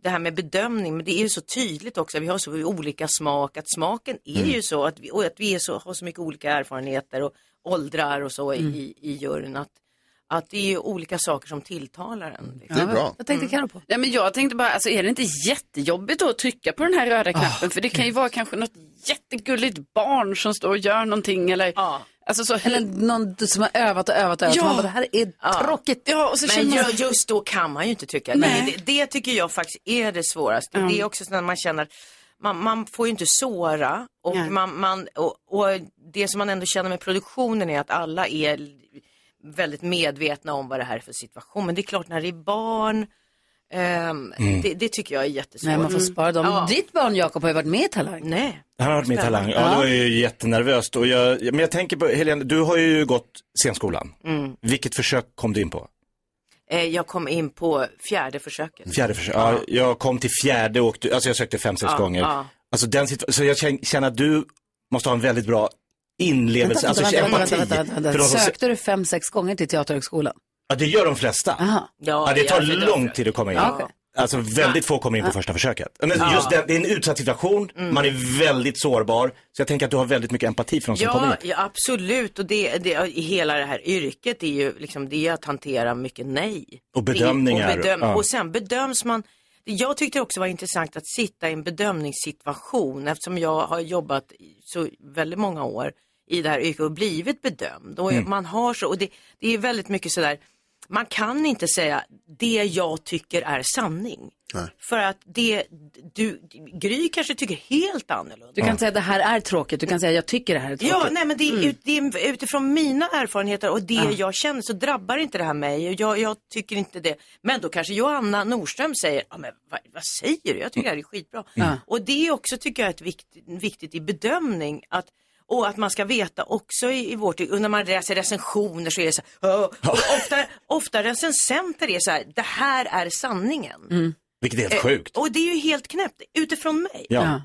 det här med bedömning, men det är ju så tydligt också, vi har så olika smak, att smaken är Mm. ju så, att vi, och att vi är så, har så mycket olika erfarenheter och åldrar och så i, i juryn, att, att det är ju olika saker som tilltalar en. liksom. Vad tänkte Carro på? Mm. Ja, men jag tänkte bara, alltså, är det inte jättejobbigt då att trycka på den här Ah, röda knappen? För det kan ju vara kanske något jättegulligt barn som står och gör någonting. Eller, alltså, så, Eller någon som har övat och övat och övat. Ja. Man bara, det här är tråkigt. Ja, och så men känner man- ju- just då kan man ju inte tycka det. Men det. Det tycker jag faktiskt är det svåraste. Mm. Det är också så när man känner att man, man får ju inte såra och, Nej. man, man, och, och det som man ändå känner med produktionen är att alla är väldigt medvetna om vad det här är för situation. Men det är klart när det är barn Ehm, Mm. det, det tycker jag är jättesvårt. Nej, man får spara dem. Mm. Ja. Ditt barn Jakob har ju varit med i Talang. Nej. Han har varit min talang. Spännande. Ja, det Ja. var ju jättenervöst. Och jag, men jag tänker på, Helene, du har ju gått scenskolan. Mm. Vilket försök kom du in på? Eh, jag kom in på fjärde försöket. Fjärde försök. Ja, jag kom till fjärde och åkte, alltså jag sökte fem, sex Ja, gånger. ja. Alltså den situ- så jag kän- känner att du måste ha en väldigt bra inlevelse, Vänta, alltså vänta, vänta, empati. vänta, vänta, vänta, För vänta. de som, Sökte du fem, sex gånger till Teaterhögskolan? ja, det gör de flesta. Aha. Ja, det tar ja, det gör lång tid att komma in. Ja, okej. Alltså väldigt få kommer in på första försöket. Men Ja. just det, det är en utsatt situation, Mm. man är väldigt sårbar. Så jag tänker att du har väldigt mycket empati för de som kommer in. Ja, ja, absolut. Och det, det, i hela det här yrket är ju liksom, det är att hantera mycket nej. Och bedömningar, Det är- Och, bedöm, ja. och sen bedöms man. Jag tyckte det också var intressant att sitta i en bedömningssituation eftersom jag har jobbat i så väldigt många år i det här yrket och blivit bedömd. Och Mm. man har så, och det, det är väldigt mycket sådär, man kan inte säga det jag tycker är sanning. För att det, du, Gry kanske tycker helt annorlunda. Du kan säga det här är tråkigt, du kan säga jag tycker det här är tråkigt. Ja, nej, men det är, Mm. ut, det är utifrån mina erfarenheter och det jag känner så drabbar inte det här mig. Och jag, jag tycker inte det. Men då kanske Johanna Nordström säger, ja, men vad, vad säger du? Jag tycker det här är skitbra. Och det är också tycker jag är ett vikt, viktigt i bedömning. Att, och att man ska veta också i, i vårt, och när man läser recensioner så är det så här, "Åh." och ofta, ofta recensenter är så här, det här är sanningen. Vilket är helt Eh, sjukt. Och det är ju helt knäppt utifrån mig. Ja.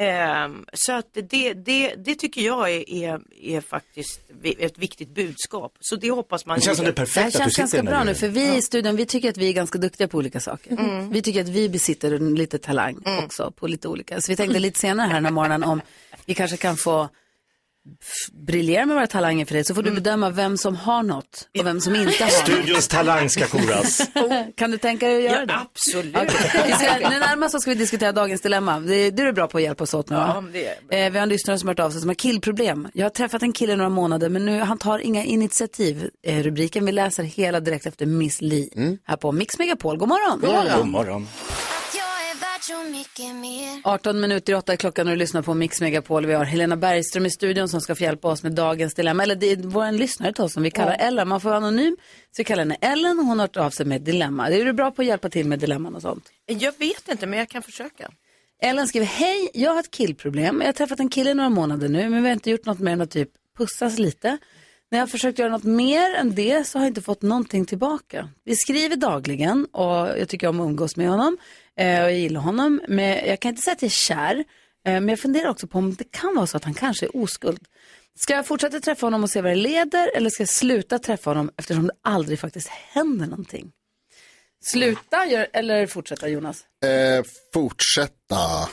Ehm, så att det, det, det tycker jag är, är, är faktiskt vi- ett viktigt budskap. Så det hoppas man. Det känns som det gillar. perfekta Det här känns ganska bra nu, för vi i studion, vi tycker att vi är ganska duktiga på olika saker. Mm. Vi tycker att vi besitter en lite talang också, på lite olika. Så vi tänkte lite senare här den här morgonen om vi kanske kan få f- briljera med våra talanger för dig, så får du bedöma vem som har något och vem som inte har något. Studions talang ska koras. Kan du tänka dig att göra det? Absolut. Okej. Vi ska, nu närmast så ska vi diskutera dagens dilemma. Det, det är du bra på att hjälpa oss åt nu va? Ja, men det är Eh, vi har en lyssnare som har hört av sig som har killproblem. Jag har träffat en kille i några månader men nu, han tar inga initiativ. Eh, rubriken vi läser hela direkt efter Miss Li här på Mix Megapol. Mm. God morgon! God morgon. 18 minuter i åtta är klockan och du lyssnar på Mix Megapol. Vi har Helena Bergström i studion som ska få hjälpa oss med dagens dilemma. Eller det är vår lyssnare till oss som vi kallar Ellen. Man får vara anonym. Så vi kallar henne Ellen och hon har hört av sig med ett dilemma. Är du bra på att hjälpa till med dilemman och sånt? Jag vet inte, men jag kan försöka. Ellen skriver, hej, jag har ett killproblem. Jag har träffat en kille i några månader nu, men vi har inte gjort något mer än att typ pussas lite. När jag har försökt göra något mer än det så har jag inte fått någonting tillbaka. Vi skriver dagligen och jag tycker om att umgås med honom. Eh, och jag gillar honom, men jag kan inte säga att jag är kär. Eh, men jag funderar också på om det kan vara så att han kanske är oskuld. Ska jag fortsätta träffa honom och se vad det leder eller ska jag sluta träffa honom eftersom det aldrig faktiskt händer någonting? Sluta gör, eller fortsätta Jonas? Eh, fortsätta.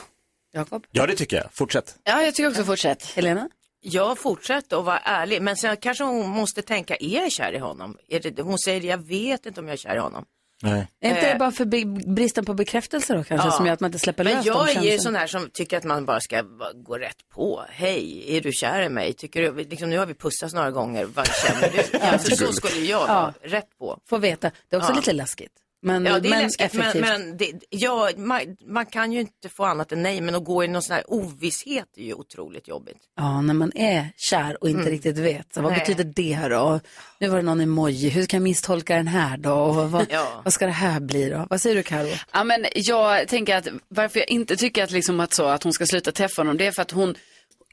Jakob? Ja, det tycker jag. Fortsätt. Ja, jag tycker också fortsätt. Helena? Jag fortsätter och vara ärlig, men sen kanske hon måste tänka, är jag kär i honom? Är det, hon säger, jag vet inte om jag är kär i honom. Nej. Är inte det Eh. bara för be- bristen på bekräftelse då kanske Ja. som gör att man inte släpper Men lös de jag är ju känslorna? sån här som tycker att man bara ska va- gå rätt på. Hej, är du kär i mig? Tycker du, liksom, nu har vi pussats några gånger, vad känner du? Alltså, så skulle jag vara, rätt på. Få veta. Det är också Ja. lite läskigt. Men, ja, det är men läskigt, effektivt. men, men det, ja, man, man kan ju inte få annat än nej, men att gå i någon sån här ovisshet är ju otroligt jobbigt. Ja, när man är kär och inte Mm. riktigt vet. Så vad Nej. betyder det då? Nu var det någon emoji. Hur kan jag misstolka den här då? Och vad, vad, Ja. vad ska det här bli då? Vad säger du Karo? Ja, men jag tänker att varför jag inte tycker att, liksom att, så, att hon ska sluta träffa honom, det är för att hon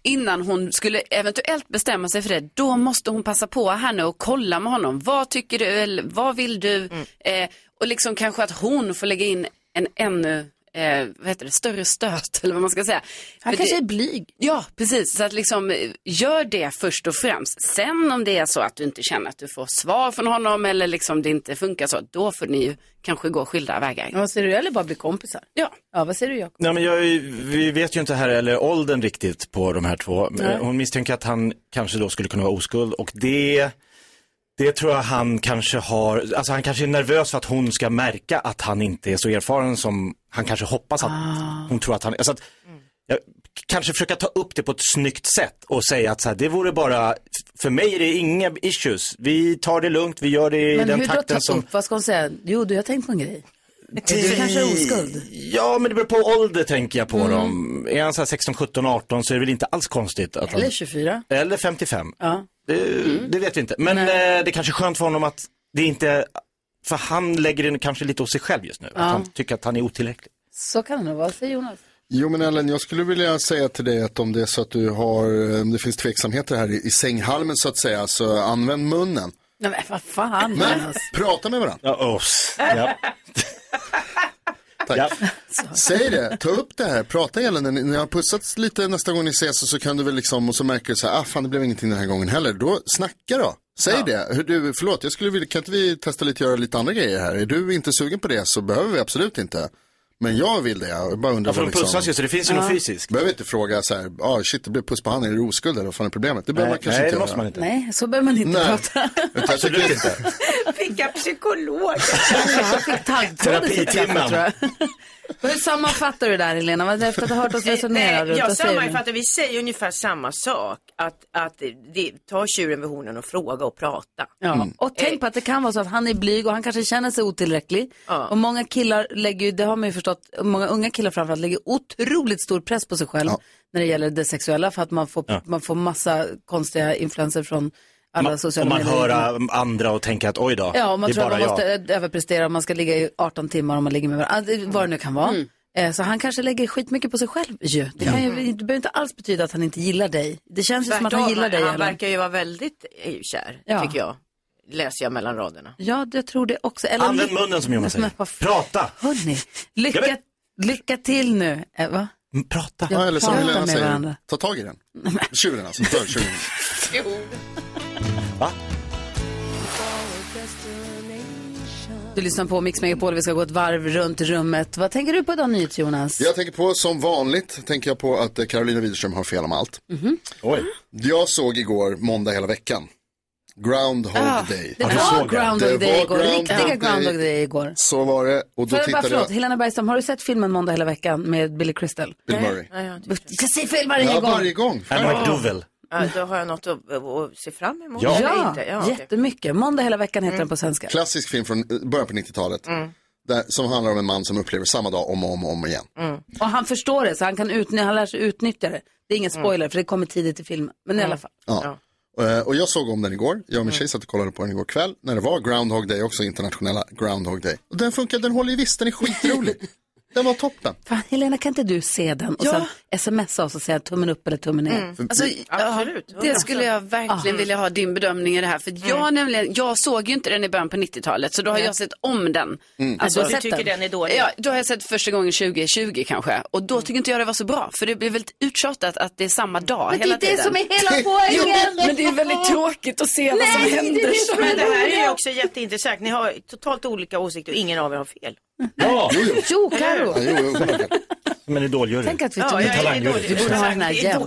innan hon skulle eventuellt bestämma sig för det, då måste hon passa på här nu och kolla med honom. Vad tycker du? Eller vad vill du? Mm. Eh, och liksom kanske att hon får lägga in en ännu eh, vad heter det, större stöt eller vad man ska säga. Han För kanske det- är blyg. Ja, precis. Så att liksom, eh, gör det först och främst. Sen om det är så att du inte känner att du får svar från honom eller liksom det inte funkar så, då får ni ju kanske gå skilda vägar. Vad säger du? Eller bara bli kompisar? Ja. Ja, vad säger du Jakob? Nej, men jag, vi vet ju inte här eller åldern riktigt på de här två. Nej. Hon misstänker att han kanske då skulle kunna vara oskuld och det, det tror jag han kanske har, alltså han kanske är nervös för att hon ska märka att han inte är så erfaren som han kanske hoppas att Ah. hon tror att han är. Alltså att, jag, kanske försöka ta upp det på ett snyggt sätt och säga att så här, det vore bara, för mig är det inga issues, vi tar det lugnt, vi gör det i Men den hur då takten ta som... upp? Vad ska hon säga? Jo, du, jag har tänkt på en grej. Du kanske är oskuld. Mm. Ja, men det beror på ålder tänker jag på dem. Är han så här 16, 17, 18 så är det väl inte alls konstigt att Eller 24. han... Eller 55. Ja. Mm. Det, det vet vi inte. Men eh, det kanske är skönt för honom att det inte För han lägger den kanske lite hos sig själv just nu. Ja. Att han tycker att han är otillräcklig. Så kan det nog vara, säger Jonas. Jo men Ellen, jag skulle vilja säga till dig att om det är så att du har, eh, om det finns tveksamheter här i, i sänghalmen så att säga, så använd munnen. Nej men vad fan Men Jonas. prata med varandra. Ja, ja. Tack. Säg det, ta upp det här, prata Ellen, när ni- när ni har pussats lite nästa gång ni ses och så kan du väl liksom, och så märker du så här, ah fan det blev ingenting den här gången heller, då snacka då. Säg det, Hur du, förlåt, jag skulle vilja, kan inte vi testa lite, göra lite andra grejer här? Är du inte sugen på det så behöver vi absolut inte. Men jag vill det, jag bara undrar liksom- Ja, för de pussas ju, så det finns ju något Ja. fysiskt. Behöver inte fråga så här, ah, shit det blev puss på handen, är du oskuld eller vad fan är problemet? Det behöver Nej, man kanske nej, inte det måste man inte. Nej, så behöver man inte Nej. prata. Absolut inte. Vilka psykologer. Jag fick taggtråden sitt kaffe, tror jag. Hur sammanfattar du där Helena? Vad- Efter att ha hört oss resonera Nej, runt, Eh, Jag vad säger du? sammanfattar, vi säger ungefär samma sak. Att, att det, ta tjuren vid hornen och fråga och prata. Ja. Mm. Och tänk på att det kan vara så att han är blyg och han kanske känner sig otillräcklig. Och många killar lägger ju, det har man ju förstått, många unga killar framförallt lägger otroligt stor press på sig själv när det gäller det sexuella för att man får, Ja. man får massa konstiga influenser från alla Man, och sociala man medier. hör äh, andra och tänker att oj då, Ja, och man det är tror att bara man måste jag. eh, överprestera, man ska ligga i 18 timmar om man ligger med varandra, Ah, det- vad det nu kan vara. Mm. Eh, Så han kanske lägger skitmycket på sig själv ju. Det, kan ju, det behöver inte alls betyda att han inte gillar dig. Det känns ju som att han Tvärtom, gillar dig. Han Ellen. verkar ju vara väldigt EU-kär, Ja. tycker jag. Läser jag mellan raderna. Ja, jag tror det också. Använd munnen, som Jonas säger. Prata! Hörni, lycka, lycka till nu. Eh, va? Mm, Prata. Ja, Ja, eller som prata Helena med säger, varandra. ta tag i den. Tjuren alltså, ta tjuren. Va? Du lyssnar på Mix Megapol, vi ska gå ett varv runt rummet. Vad tänker du på idag nytt Jonas? Jag tänker på, som vanligt, tänker jag på att eh, Carolina Widerström har fel om allt. Mhm. Oj. Jag såg igår, måndag hela veckan, Groundhog Ah, Day. det var Groundhog Day igår, riktiga Groundhog Day igår. Så var det, och då Får jag bara, tittade jag... förlåt, Helena Bergström, har du sett filmen Måndag hela veckan med Billy Crystal? Bill Murray. Ska se film varje ja, gång. varje gång. Ja, då har jag något att, att se fram emot. Ja. Eller Ja, inte. Ja, okej. jättemycket. Måndag hela veckan heter den på svenska. Klassisk film från eh, början på 90-talet. Mm. Där, som handlar om en man som upplever samma dag om och om och om igen. Och han förstår det, så han, kan utny- han lär sig utnyttja det. Det är ingen spoiler, för det kommer tidigt i filmen. Men i alla fall. Ja. Eh, Och jag såg om den igår, jag Mm. och min tjej satt och kollade på den igår kväll när det var Groundhog Day också, internationella Groundhog Day. Och den funkar, den håller ju visst, den är skitrolig. den var toppen. Fan, Helena, kan inte du se den och sen smsa oss och säga tummen upp eller tummen ner? Mm. Alltså, Absolut. Det skulle jag verkligen Ja. vilja ha din bedömning i det här. För jag, nämligen, jag såg ju inte den i början på 90-talet, så då har jag sett om den. Mm. Alltså, du tycker den är dålig? Ja, då har jag sett första gången 2020 kanske. Och Mm. då tycker inte jag det var så bra, för det blir väldigt uttjatat att det är samma dag Men det är hela det tiden. som är hela poängen! Jo, men det är väldigt tråkigt att se vad som Nej, händer. det är så- Men det här är ju också jätteintressant. Ni har totalt olika åsikter och ingen av er har fel. Ja. Jo, Karo. Som en idoljury. Tänk att vi ja, tog- jag är Vi borde ha den här jämt.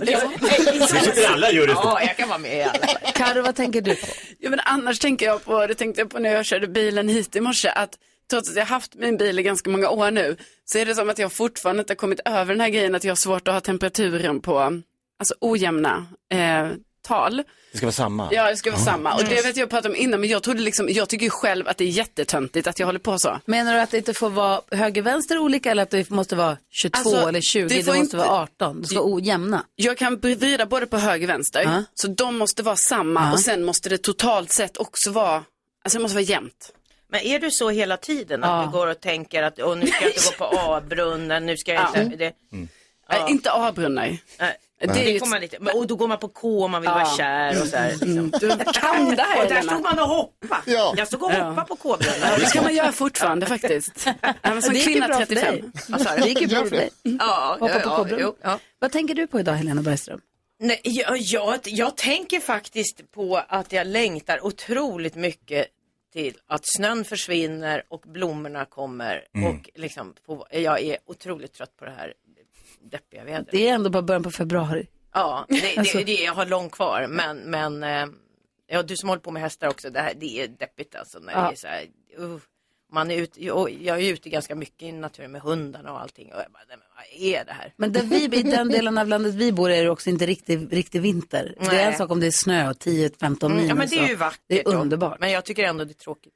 Vi sitter alla i juryn. Ja, jag kan vara med i alla fall. Karo, vad tänker du på? Jo, men annars tänker jag på, det tänkte jag på när jag körde bilen hit i morse, att trots att jag har haft min bil i ganska många år nu, så är det som att jag fortfarande inte har kommit över den här grejen att jag har svårt att ha temperaturen på, alltså ojämna eh, tal. Det ska vara samma. Ja, det ska vara samma. Och det vet jag pratade om innan, men jag trodde liksom, jag tycker ju själv att det är jättetöntigt att jag håller på så. Menar du att det inte får vara höger-vänster olika eller att det måste vara 22 Alltså, eller 20? det Det, får måste inte- vara 18. Det ska vara ojämna. Jag kan vrida både på höger och vänster, så de måste vara samma Ja. och sen måste det totalt sett också vara, alltså det måste vara jämnt. Men är du så hela tiden att Ja. du går och tänker att åh, nu ska jag inte gå på A-brunnen, nu ska jag Ja. inte... Det, Nej, Äh, inte A-brunnar. Nej, Det det, är ju- kommer man inte... Men, och då går man på K om man vill Ja. Mm. vara kär och så här. Liksom. Du kan det här Och där Helena. stod man och hoppade. Ja. Jag stod och hoppade på K-brunnen. Ja, det kan man göra fortfarande faktiskt. Även som Alltså, Det gick ju kvinna bra för 35. dig. Det gick ju bra för dig. Ja, Hoppa ja, på ja, kobben. jo, ja. Vad tänker du på idag, Helena Bergström? Nej, jag, jag, jag tänker faktiskt på att jag längtar otroligt mycket till att snön försvinner och blommorna kommer. Mm. Och liksom på, jag är otroligt trött på det här deppiga vädret. Det är ändå bara början på februari. Ja, det, Alltså. det, det, jag har långt kvar. Men, men eh, ja, du som håller på med hästar också, det, här, det är deppigt alltså. När Ja. det är så här, uh, man är ut, och jag är ute ganska mycket i naturen med hundarna och allting. Och jag bara, nej, men vad är det här? Men där vi, i den delen av landet vi bor är det också inte riktig, riktig vinter. Det är Nej. Mm, en sak om det är snö och 10-15 minus. Ja men det är ju och- vackert. Det är och- underbart. Men jag tycker ändå det är tråkigt.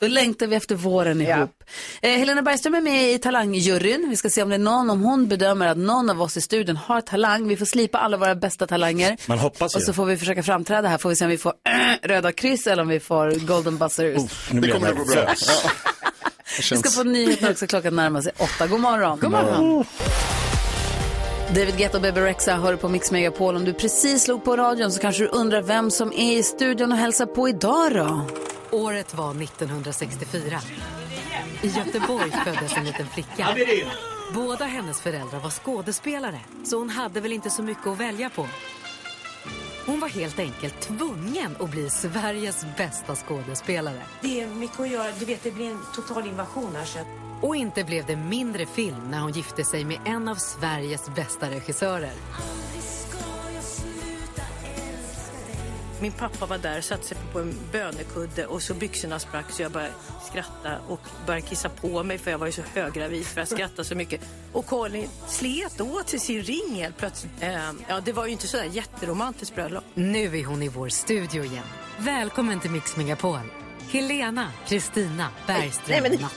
Då längtar vi efter våren ihop. Eh, Helena Bergström är med i talangjuryn. Vi ska se om det är någon, om hon bedömer att någon av oss i studion har talang. Vi får slipa alla våra bästa talanger. Man hoppas ju. Och så får vi försöka framträda här. Får vi se om vi får röda kryss eller om vi får golden buzzers. nu blir jag nervös. Vi ska få nyheter också. Klockan närmar sig åtta. God morgon. God morgon. David Guetta och Bebe Rexha hör på Mix Megapol. Om du precis slog på radion så kanske du undrar vem som är i studion och hälsar på idag då? Året var 1964. I Göteborg föddes en liten flicka. Amelie. Båda hennes föräldrar var skådespelare, så hon hade väl inte så mycket att välja på. Hon var helt enkelt tvungen att bli Sveriges bästa skådespelare. Det är mycket att göra. Du vet, det blir en total invasion här. Så att... Och inte blev det mindre film när hon gifte sig med en av Sveriges bästa regissörer. Min pappa var där, satte sig på en bönekudde och så byxorna sprack så jag började skratta och började kissa på mig för jag var ju så höggravid för jag skrattade så mycket. Och Colin slet åt sig sin ring helt plötsligt. Eh, ja, det var ju inte sådär jätteromantiskt bröllop. Nu är hon i vår studio igen. Välkommen till Mix Megapol. Helena, Kristina, Bergström. Nej, men- Mats.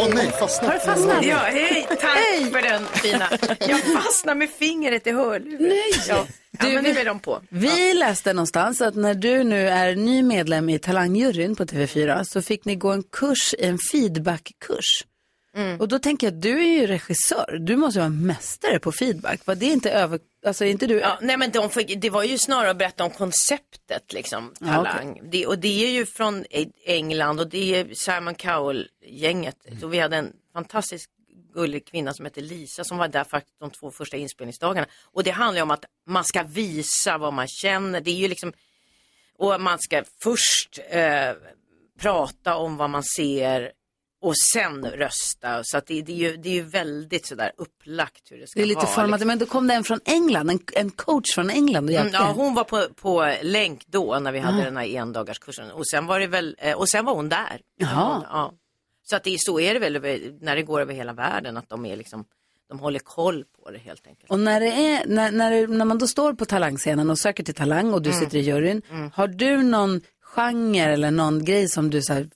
Åh nej, fastnat. Har du fastnat? Ja, hej, tack Hej. för den fina. Jag fastnar med fingret i hörluren. Nej! Ja, ja men nu är de på. Vi läste någonstans att när du nu är ny medlem i talangjuryn på TV4 så fick ni gå en kurs, en feedbackkurs. Och då tänker jag att du är ju regissör, du måste ju vara mästare på feedback. Var det inte över, alltså är inte du? Ja, nej men de fick, det var ju snarare att berätta om konceptet liksom, Ja, talang. det, och det är ju från E- England och det är Simon Cowell-gänget. Mm. Så vi hade en fantastisk gullig kvinna som hette Lisa som var där faktiskt de två första inspelningsdagarna. Och det handlar ju om att man ska visa vad man känner. Det är ju liksom, och man ska först eh, prata om vad man ser och sen rösta. Så att det, det, är ju, det är ju väldigt sådär upplagt hur det ska Det är lite vara. format, men då kom det en från England, en, en coach från England och liksom. Mm, hjälpte ja, er. hon var på, på länk då när vi hade Ah. den här endagarskursen och sen var det väl, eh, och sen var hon där. Jaha. Ja. Så att det, är- så är det väl över, när det går över hela världen att de är liksom, de håller koll på det helt enkelt. Och när, det är, när, när, det- när man då står på talangscenen och söker till Talang och du Mm. sitter i juryn, Mm. har du någon genre eller någon grej som du så här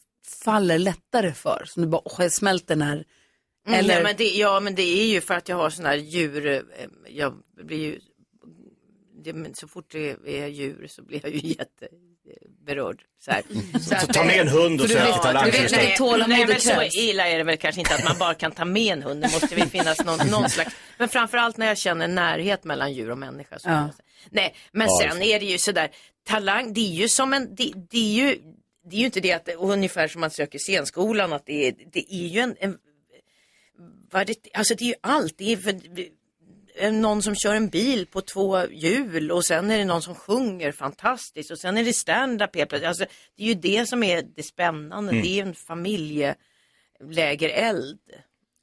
faller lättare för? Som du bara, åh, jag smälter när... Mm, Eller, nej, men det, ja men det är ju för att jag har sådana här djur, eh, jag blir ju, det, men så fort det är djur så blir jag ju jätteberörd. Så, här. Så ta med en hund och Så du sök vet- till talang du vet just nu. när tålamod Mm. Nej men så krävs. illa är det väl kanske inte att man bara kan ta med en hund, det måste väl finnas någon, någon slags, men framförallt när jag känner närhet mellan djur och människa. Så Ja. Nej, men Ja, sen är det ju sådär, talang, det är ju som en, det, det är ju, det är ju inte det att, och ungefär som man söker scenskolan, att det är, det är ju en, en vad det, alltså det är ju allt, det är för, eh, någon som kör en bil på två hjul och sen är det någon som sjunger fantastiskt och sen är det stand-up helt plötsligt. Alltså, det är ju det som är det spännande, Mm. det är ju en familjelägereld.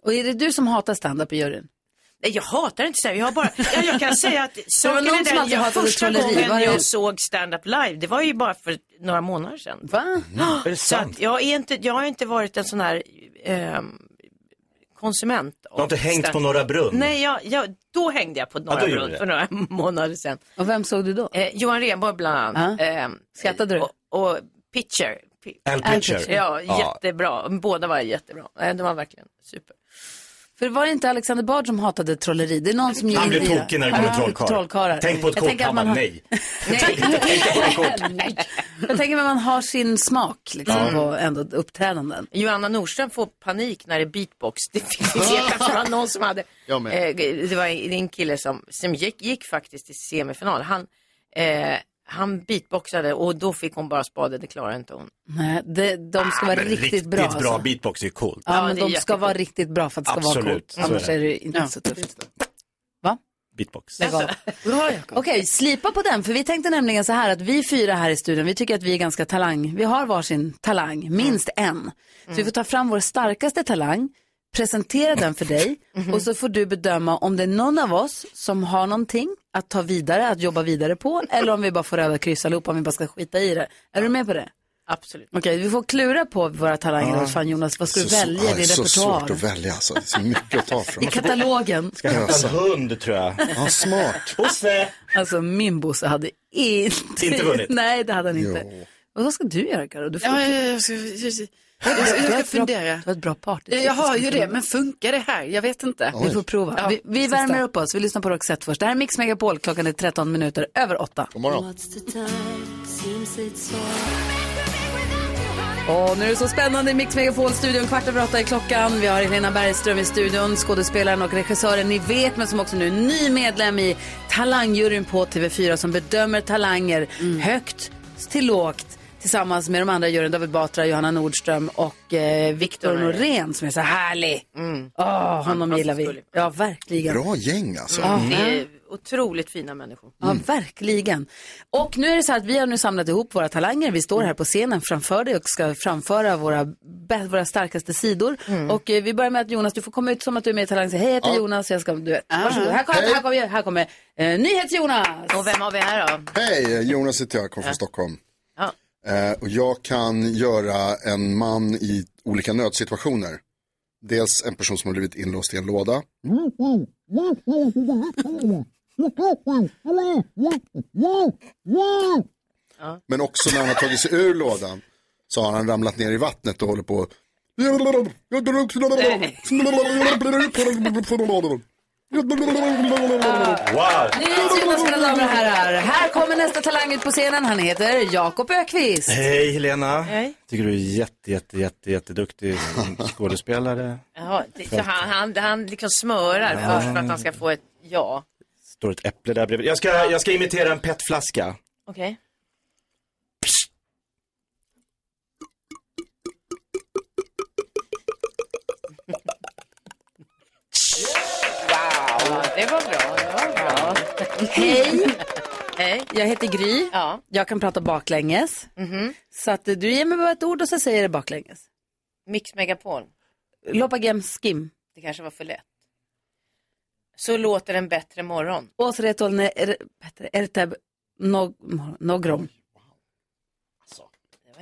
Och är det du som hatar stand-up i juryn? Nej, jag hatar inte stand-up. Jag, har bara, ja, jag kan säga att Det var saken någon är som den, alltid jag, hatade första trolleri, gången var det? jag såg stand-up live, det var ju bara för några månader sedan. Va? Är det sant? Så att jag, är inte, jag har inte varit en sån här ehm, konsument. Du har inte hängt på Norra Brunn? Nej, jag, jag, då hängde jag på Norra då gjorde Brunn du för några månader sedan. Och vem såg du då? Eh, Johan Rheborg bland annat. Ehm, Skrattade du? Och, och Pitcher. Pi- Al Pitcher. Ja, Ja. jättebra. Båda var jättebra. Eh, De var verkligen super. För var det inte Alexander Bard som hatade trolleri? Det är någon som Han gör blir det. tokig när det kommer Ja, trollkarlar. trollkarlar. Tänk på ett Jag kort, tänker han att man bara har- nej. Jag tänker att man har sin smak liksom, Mm. på ändå uppträdanden. Johanna Nordström får panik när det är beatbox. Det finns det var någon som hade... Jag med. Eh, det var en, det är en kille som, som gick, gick faktiskt till semifinal. Han, eh, han beatboxade och då fick hon bara spade, det klarade inte hon. Nej, det, de ska Ah, vara men riktigt, riktigt bra. Riktigt bra alltså. beatbox är ju coolt. Ja, men det är de ska jättekul. vara riktigt bra för att det ska vara Absolut, coolt. så är Annars det. är det inte så tufft. Beatbox. Alltså, Lägg av. Okej, slipa på den. För vi tänkte nämligen så här att vi fyra här i studion, vi tycker att vi är ganska talang. Vi har varsin talang, minst Mm. en. Så vi får ta fram vår starkaste talang, presentera den för dig Mhm. och så får du bedöma om det är någon av oss som har någonting att ta vidare, att jobba vidare på eller om vi bara får röda kryss allihopa, om vi bara ska skita i det. Är du med på det? Absolut. Okej, vi får klura på våra talanger. Ja. Vad fan Jonas, vad ska du Så- ja, välja i din Det är så svårt repertoar? att välja alltså. Det är så mycket att ta från. I katalogen. Ska hämta en hund tror jag. Ja, smart. Bosse! Alltså min Bosse hade inte... Inte vunnit. Nej, det hade han inte. Och vad ska du göra Karo? Du får Ja, ja, ja, jag ska, jag ska, jag Du ska, har ett bra- fundera. Du har ett bra party. Ja, jag har ju det, men funkar det här? Jag vet inte. Vi får prova. Ja. Vi, vi värmer upp oss. Vi lyssnar på Roxette först. Det här är Mix Megapol. Klockan är 13 minuter över 8. God Och nu är det så spännande i Mix Megapol-studion. Kvart över åtta är klockan. Vi har Helena Bergström i studion, skådespelaren och regissören ni vet, men som också nu är ny medlem i talangjuryn på TV4 som bedömer talanger högt till lågt tillsammans med de andra juryn, David Batra, Johanna Nordström och eh, Viktor Norén som är så härlig. Mm. Åh, honom gillar vi. Ja, verkligen. Bra gäng alltså. Ja. Det är otroligt fina människor. Ja, verkligen. Och nu är det så här att vi har nu samlat ihop våra talanger. Vi står här på scenen framför dig och ska framföra våra, bä- våra starkaste sidor. Mm. Och eh, vi börjar med att Jonas, du får komma ut som att du är med i Talang. Säg hej, jag heter Jonas. Jag ska, du vet. Ah. Varsågod. Här kommer, här kommer, här kommer eh, NyhetsJonas. Och vem har vi här då? Hej, Jonas heter jag, kommer från Stockholm. Ja. Eh, och jag kan göra en man i olika nödsituationer. Dels en person som har blivit inlåst i en låda. Men också när han har tagit sig ur lådan så har han ramlat ner i vattnet och håller på. Wow! NyhetsJonas, mina damer och herrar. Här kommer nästa talang ut på scenen. Han heter Jakob Ökvist. Hej Helena! Hej. Tycker du är jätte, jätte, jätte, jätteduktig skådespelare. Jaha, det- så han, han, han liksom smörar Ja. först för att han ska få ett ja. Står ett äpple där bredvid. Jag ska, jag ska imitera en petflaska. Okej. Wow, det var bra. Hej, Hej. jag heter Gry. Ja. Jag kan prata baklänges. Mhm. Så att eh, du ger mig bara ett ord och så säger jag det baklänges. Mix Megapol. Lopagem skim. Det kanske var för lätt. Så låter en bättre morgon. Åsretolne bättre Ertab nog, Nogrom.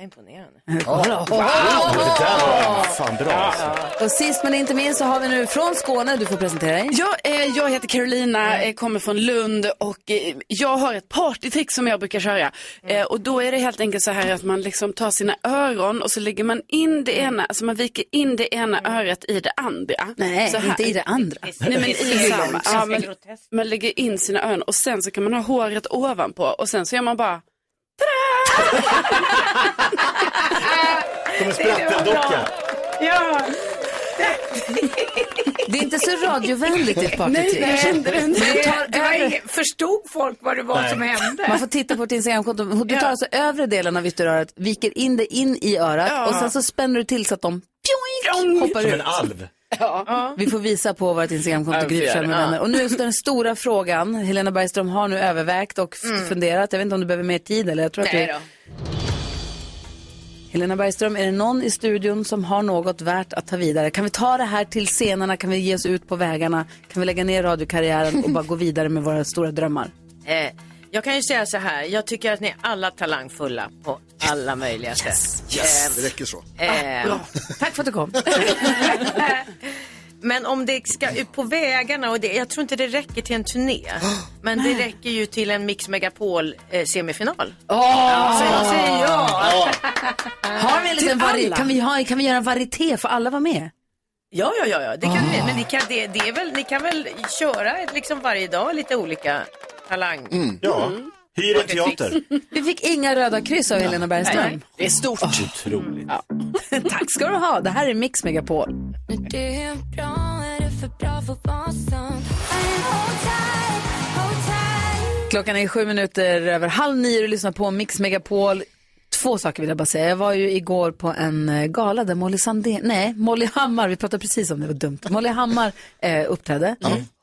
Det var imponerande. Det där var fan bra alltså. Och sist men inte minst så har vi nu från Skåne, du får presentera dig. Ja, eh, jag heter Carolina, eh, kommer från Lund och eh, jag har ett partytrick som jag brukar köra. Mm. Eh, och då är det helt enkelt så här att man liksom tar sina öron och så lägger man in det Mm. ena, alltså man viker in det ena örat i det andra. Nej, så här. inte i det andra. Nej men i samma. Ja, men, men... man lägger in sina öron och sen så kan man ha håret ovanpå och sen så gör man bara Som en spratteldocka. Ja, Det är inte så radiovänligt ditt partytrick. Nej, nej, det är inte. Men Du Det tar var över... inget- förstod folk vad det var Nej. som hände? Man får titta på ditt Instagramkonto. Du tar alltså övre delen av ytterörat, viker in det in i örat Ja. och sen så spänner du till så att de pjoink, hoppar Som ut. en alv. Ja. Vi får visa på vårt Ja, Instagramkonto vi får Gryfsjö göra med det. vänner. Ja. Och nu så den stora frågan. Helena Bergström har nu övervägt och f- Mm. funderat. Jag vet inte om du behöver mer tid eller jag tror Nej att då. du... Helena Bergström, är det någon i studion som har något värt att ta vidare? Kan vi ta det här till scenerna? Kan vi ge oss ut på vägarna? Kan vi lägga ner radiokarriären och bara gå vidare med våra stora drömmar? Eh, jag kan ju säga så här, jag tycker att ni är alla talangfulla på alla möjliga sätt. Eh, Det räcker så. Eh, Tack för att du kom. Men om det ska ut på vägarna och det, jag tror inte det räcker till en turné. Men det räcker ju till en Mix Megapol eh, semifinal. Så jag säger ja. Har vi en liten Till vari- alla. kan, vi ha, kan vi göra en varieté? Får alla vara med? Ja, ja, ja, ja. det kan ni. Men ni kan, det, det är väl, ni kan väl köra ett, liksom varje dag lite olika talang. Mm. Mm. Ja. Hyr en teater. Vi fick inga röda kryss av Helena Bergström. Det är stort. Otroligt. Tack ska du ha. Det här är Mix Megapol. Det är bra, är det för bra för att vara sant? I am hold tight, hold tight. Klockan är sju minuter över halv nio och lyssnar på Mix Megapol. Två saker vill jag bara säga. Jag var ju igår på en eh, gala där Molly Sandén, nej, Molly Hammar, vi pratade precis om det, det var dumt. Molly Hammar eh, uppträdde.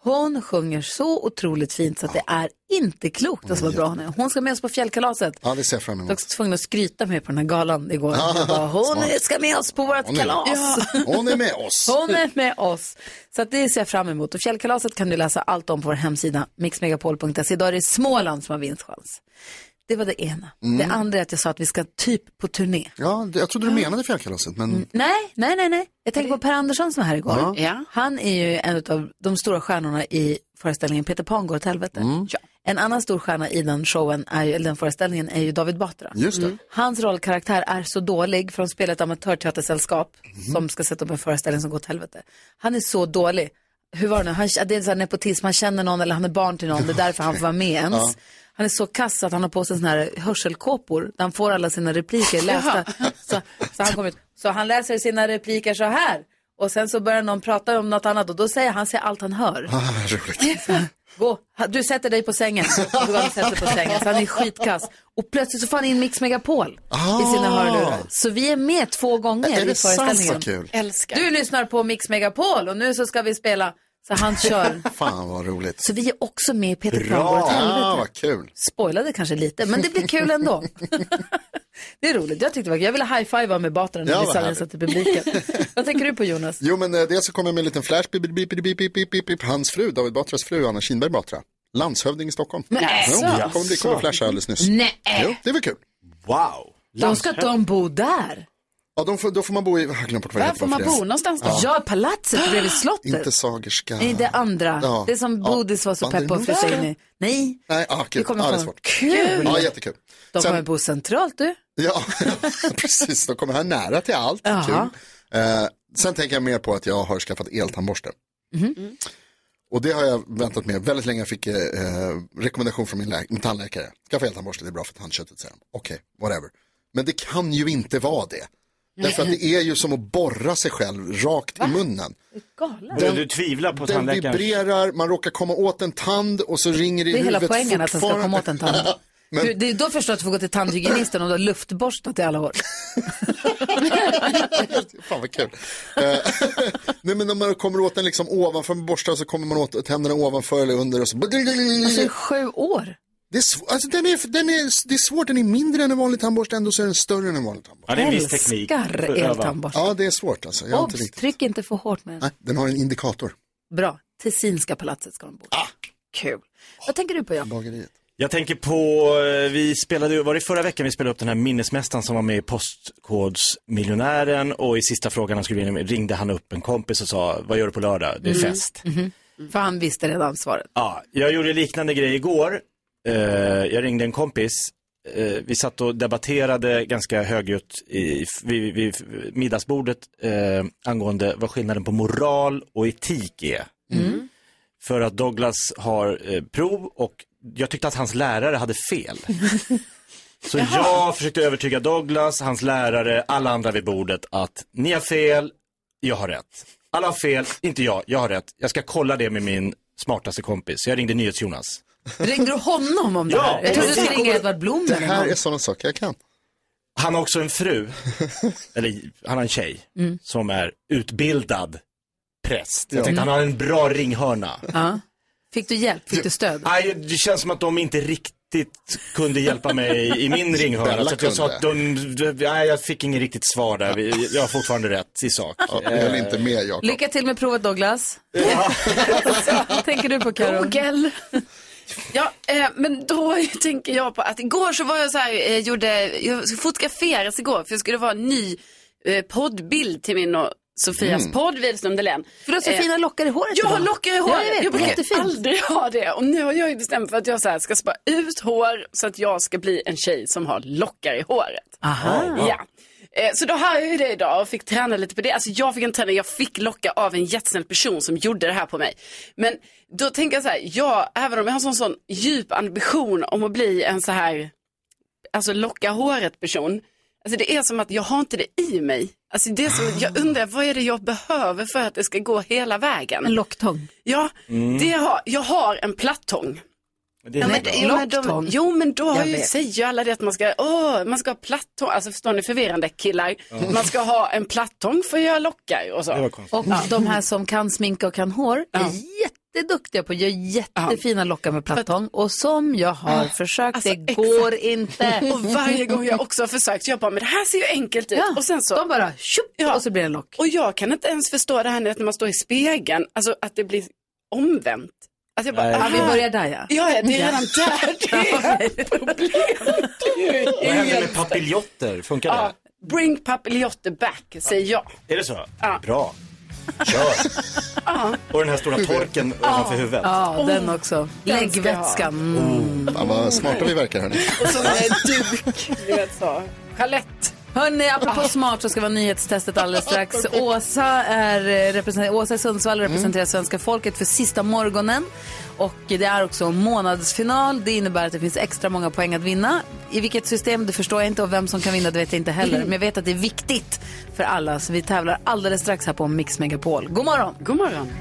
Hon sjunger så otroligt fint så att det är inte klokt alltså, vad bra hon är. Hon ska med oss på fjällkalaset. Ja, det ser jag fram Jag var emot. också tvungen att skryta med på den här galan igår. Jag bara, hon Smart. ska med oss på vårt Hon är- kalas. Ja, hon är med oss. Hon är med oss. Så att det ser jag fram emot. Och fjällkalaset kan du läsa allt om på vår hemsida mixmegapol.se. Idag är det Småland som har vinstchans. Det var det ena. Mm. Det andra är att jag sa att vi ska typ på turné. Ja, det- jag trodde du menade fjällkalaset, men Nej, nej, nej, nej. Jag tänker på Per Andersson som var här igår. Ja. Han är ju en av de stora stjärnorna i föreställningen Peter Pan går åt helvete. En annan stor stjärna i den showen, är ju, eller den föreställningen, är ju David Batra. Just det. Mm. Hans rollkaraktär är så dålig, för de spelar ett amatörteatersällskap som ska sätta upp en föreställning som går åt helvete. Han är så dålig. Hur var det nu? Han, det är så här nepotism, han känner någon eller han är barn till någon, det är därför han får vara med ens. Ja. Han är så kass att han har på sig såna här hörselkåpor där han får alla sina repliker lästa. Så, så, han kommer ut. så han läser sina repliker så här. Och sen så börjar någon prata om något annat och då säger han säger allt han hör. Ah, vad roligt. Gå, du sätter dig på sängen. Och så går han och sätter sig på sängen. Så han är skitkass. Och plötsligt så får han in Mix Megapol i sina Ah. hörlurar. Så vi är med två gånger Är det i sant? föreställningen. Så kul. Älskar. Du lyssnar på Mix Megapol och nu så ska vi spela. Så han kör. Fan vad roligt. Så vi är också med i Peter Pan går Bra, åt ah, helvete. vad kul. Spoilade kanske lite, men det blir kul ändå. det är roligt. Jag tyckte det var kul. Jag ville high-fivea med Batra när Ja, vi vad samlades härligt. till publiken. Vad tänker du på Jonas? Jo, men eh, dels så kommer jag med en liten flash. Bip, bip, bip, bip, bip, bip, bip. Hans fru, David Batras fru, Anna Kinberg Batra. Landshövding i Stockholm. Men jo, alltså. det kom, det kom och flashade alldeles nyss. Nej. Jo, det var kul. Wow. De ska inte de bo där? Ja, de får, då får man bo i... Jag har glömt bort vad det Var heter, får man varför det är. bo någonstans då? Ja. Ja, palatset bredvid slottet. Inte Sagerska. Nej, det andra. Ja. Det som Ja. Bodis var så pepp på att flytta in i. Nej, Nej, ah, det kul. kommer ah, det är komma- svårt. Kul! Ja, jättekul. de Sen- kommer bo centralt du. Ja, precis. De kommer här nära till allt. Jaha. Kul. Eh, sen tänker jag mer på att jag har skaffat eltandborste. Mhm. Och det har jag väntat med väldigt länge. Jag fick eh, eh, rekommendation från min, lä- min tandläkare. Skaffa eltandborste, det är bra för tandköttet, säger han. Okej, whatever. Men det kan ju inte vara det. Därför att det är ju som att borra sig själv rakt i munnen. Du, du tvivlar på Den tandläkaren? vibrerar, man råkar komma åt en tand och så ringer det i Det är hela huvudet poängen att den ska fortfarande. komma åt en tand. Men- Du, det är då förstår jag att du får gå till tandhygienisten om du har luftborstat i alla år. Fan vad kul. Eh, Nej men när man kommer åt den liksom ovanför med borstar så kommer man åt tänderna ovanför eller under och så. Alltså i sju år. Det är, sv- alltså, den är, den är, det är svårt, den är mindre än en vanlig tandborste ändå så är den större än en vanlig tandborste. Ja, det är en viss teknik för att Älskar öva. eltandborste. Ja det är svårt alltså. Jag har inte Obs, riktigt. tryck inte för hårt med den. Nej, den har en indikator. Bra, Tessinska palatset ska de bo i. Ah. Kul. Vad tänker du på Jakob? Bageriet. Jag tänker på, eh, vi spelade, ju- var det förra veckan vi spelade upp den här minnesmästaren som var med i Postkodsmiljonären och i sista frågan han skulle in, ringde han upp en kompis och sa, vad gör du på lördag? Det är fest. Mhm. Mm. För han visste redan svaret. Ja, jag gjorde liknande grej igår. Eh, jag ringde en kompis. Eh, vi satt och debatterade ganska högljutt i, vid, vid middagsbordet eh, angående vad skillnaden på moral och etik är. För att Douglas har eh, prov och jag tyckte att hans lärare hade fel. Så jag försökte övertyga Douglas, hans lärare, alla andra vid bordet att ni har fel, jag har rätt. Alla har fel, inte jag, jag har rätt. Jag ska kolla det med min smartaste kompis. Så Jag ringde NyhetsJonas. Ringde du honom om det här? Jag trodde du skulle ringa Edvard Blom. Det eller här någon. är sådana saker jag kan. Han har också en fru, eller han har en tjej, Mm. som är utbildad präst. Jag Ja. tänkte Mm. han har en bra ringhörna. Ja. Fick du hjälp? Fick du stöd? Nej, det känns som att de inte riktigt kunde hjälpa mig i min ringhörna. Bella Så att jag sa att de, nej, jag fick inget riktigt svar där. Vi- Jag har fortfarande rätt i sak. Ja, jag höll inte med Jakob. Lycka till med provet Douglas. tänker du på Karo? Google. Ja, eh, men då tänker jag på att igår så var jag så här, eh, gjorde, jag fotograferades igår för jag skulle vara en ny eh, poddbild till min och Sofias Mm. podd Widerström Dahlén. För du har så fina lockar i håret Jag har idag. lockar i Ja, håret. jag vet. jag brukar Jättefint. aldrig ha det. Och nu har jag ju bestämt för att jag så här ska spara ut hår så att jag ska bli en tjej som har lockar i håret. Aha. Ja. Eh, Så då har jag ju det idag och fick träna lite på det. Alltså jag fick en träning, jag fick locka av en jättesnäll person som gjorde det här på mig. Men då tänker jag så här, ja, även om jag har sån, sån djup ambition om att bli en så här, alltså locka håret person. Alltså det är som att jag har inte det i mig. Alltså det är som, jag undrar, vad är det jag behöver för att det ska gå hela vägen? En locktång. Ja, Mm. det har, jag har en plattång. Det är ja, inte men, bra. jo, men de, Locktång. jo men då har Jag ju, vet. säger ju alla det att man ska, åh, man ska ha plattång, alltså förstår ni förvirrande killar, Ja. man ska ha en plattång för att göra lockar och så. Och Ja. de här som kan sminka och kan hår är jätteduktiga på att göra jättefina lockar med plattång. Och som jag har Ja. försökt, Alltså, det går inte. Eh, Och varje gång jag också har försökt, jag bara, men det här ser ju enkelt ut. Ja, och sen så, de bara, tjup, och så blir det en lock. Och jag kan inte ens förstå det här när man står i spegeln, alltså att det blir omvänt. Alltså jag bara, Ja, vi aha. börjar där ja. Ja, ja, det är redan där det är problemet. Det Vad är händer ju med papiljotter? Funkar Ja, bring papiljotter back, säger jag. det? Är det så? Ja. Bra. Kör! Och den här stora torken ovanför huvudet. Ja, den också. Den ska jag ha. Oh. Läggvätskan. Mm. Fan vad smarta vi verkar hörni. Och så med duk, du vet så. Chalett. Hörni, apropå smart så ska vara nyhetstestet alldeles strax. Åsa, är eh, represent- Åsa i Sundsvall representerar svenska folket för sista morgonen. Och det är också månadsfinal. Det innebär att det finns extra många poäng att vinna. I vilket system, det förstår jag inte. Och vem som kan vinna, det vet jag inte heller. Men jag vet att det är viktigt för alla. Så vi tävlar alldeles strax här på Mix Megapol. God morgon! God morgon!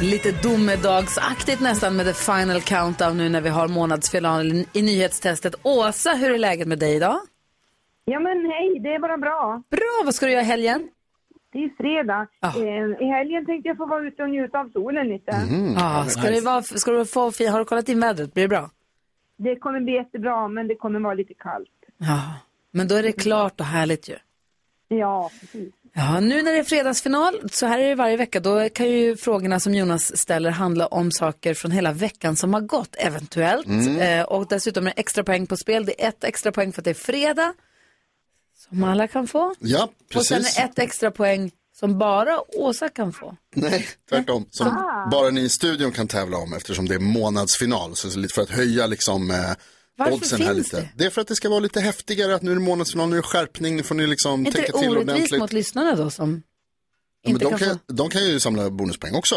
Lite domedagsaktigt nästan med the final countdown nu när vi har månadsfinalen i nyhetstestet. Åsa, hur är läget med dig idag? Ja men hej, det är bara bra. Bra, vad ska du göra i helgen? Det är fredag. Eh, I helgen tänkte jag få vara ute och njuta av solen lite. Ah, ska, det vara, ska du få, fi- har du kollat in vädret? Blir det bra? Det kommer bli jättebra men det kommer vara lite kallt. Ja, men då är det klart och härligt ju. Ja, precis. Ja, nu när det är fredagsfinal, så här är det varje vecka, då kan ju frågorna som Jonas ställer handla om saker från hela veckan som har gått, eventuellt. Mm. Eh, och dessutom är det extra poäng på spel, det är ett extra poäng för att det är fredag, som alla kan få. Ja, Och sen precis. är det ett extra poäng som bara Åsa kan få. Nej, tvärtom. Som Ah. bara ni i studion kan tävla om eftersom det är månadsfinal. Så så lite för att höja liksom eh, Varför oddsen finns här lite. det? Det? är för att det ska vara lite häftigare att nu är det månadsfinal, nu är det skärpning, nu får ni liksom Är inte det tänka till orättvist ordentligt. mot lyssnarna då som Ja, men inte de, kan få... kan, de kan ju samla bonuspoäng också.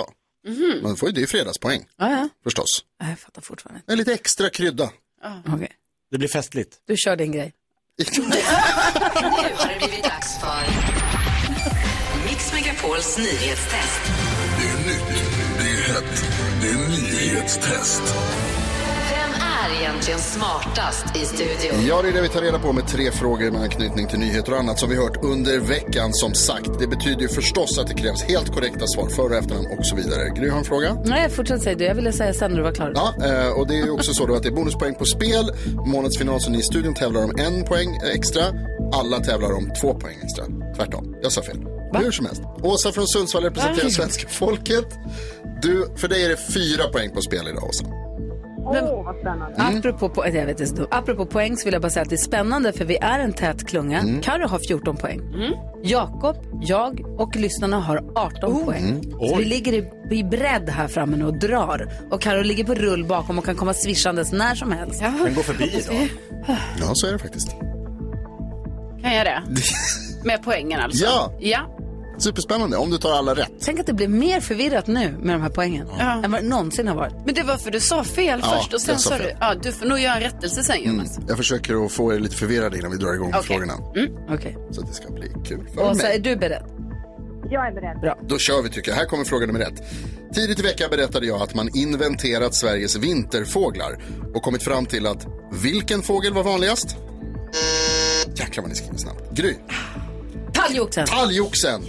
Mhm. Man får ju det i fredagspoäng, Ja, ja. förstås. Nej, Jag fattar fortfarande Det är lite extra krydda. Det blir festligt. Du kör din grej. Nu har det blivit dags för Mix Megapols nyhetstest. Det är nytt, det är hett, det är nyhetstest. Vem är egentligen smartast i studion? Ja, det är det vi tar reda på med tre frågor med anknytning till nyheter och annat som vi hört under veckan som sagt. Det betyder ju förstås att det krävs helt korrekta svar, före och efternamn och så vidare. Gry har en fråga. Nej, fortsätt säga du. Jag ville säga sen när du var klar. Ja, eh, och det är ju också så då att det är bonuspoäng på spel. Månadsfinal så ni i studion tävlar om en poäng extra. Alla tävlar om två poäng extra. Tvärtom, jag sa fel. Hur som helst. Åsa från Sundsvall representerar Va? svenska folket. Du, för dig är det fyra poäng på spel idag, Åsa. Åh, vad spännande. Apropå, po- jag vet, det är så dumt. Apropå poäng så vill jag bara säga att det är spännande för vi är en tät klunga. Mm. Karo har 14 poäng. Jakob, jag och lyssnarna har 18 poäng. Mm. Så Oj. vi ligger i, i bredd här framme nu och drar. Och Karo ligger på rull bakom och kan komma swishandes när som helst. Den går förbi idag. Ja, så är det faktiskt. Kan jag det? Med poängen alltså? Ja. ja. Superspännande, om du tar alla rätt. Tänk att det blir mer förvirrat nu med de här poängen än vad det någonsin har varit. Men det var för du sa fel Ja, först och sen jag sa sa fel. du, ja du får nog göra en rättelse sen Mm. Jonas. Jag försöker att få er lite förvirrade innan vi drar igång med Alltså. Okej. frågorna. Okej. Så att det ska bli kul för Åsa, mig. är du beredd? Jag är beredd. Då kör vi tycker jag. Här kommer fråga nummer ett. Tidigt i veckan berättade jag att man inventerat Sveriges vinterfåglar och kommit fram till att vilken fågel var vanligast? Jäklar vad ni skriver snabbt. Gry. Talgoxen. Talgoxen.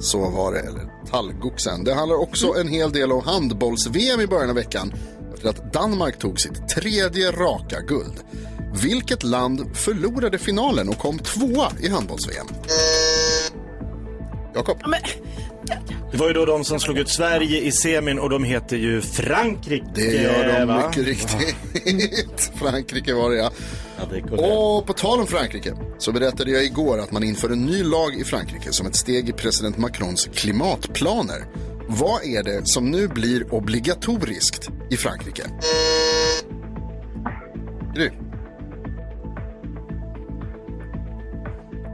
Så var det, eller talgoxen. Det handlar också en hel del om handbolls-VM i början av veckan efter att Danmark tog sitt tredje raka guld. Vilket land förlorade finalen och kom tvåa i handbolls-VM? Jakob. Det var ju då de som slog ut Sverige i semin och de heter ju Frankrike. Det gör de va? mycket riktigt. Frankrike var det ja. Och på tal om Frankrike så berättade jag igår att man inför en ny lag i Frankrike som ett steg i president Macrons klimatplaner. Vad är det som nu blir obligatoriskt i Frankrike? Gry.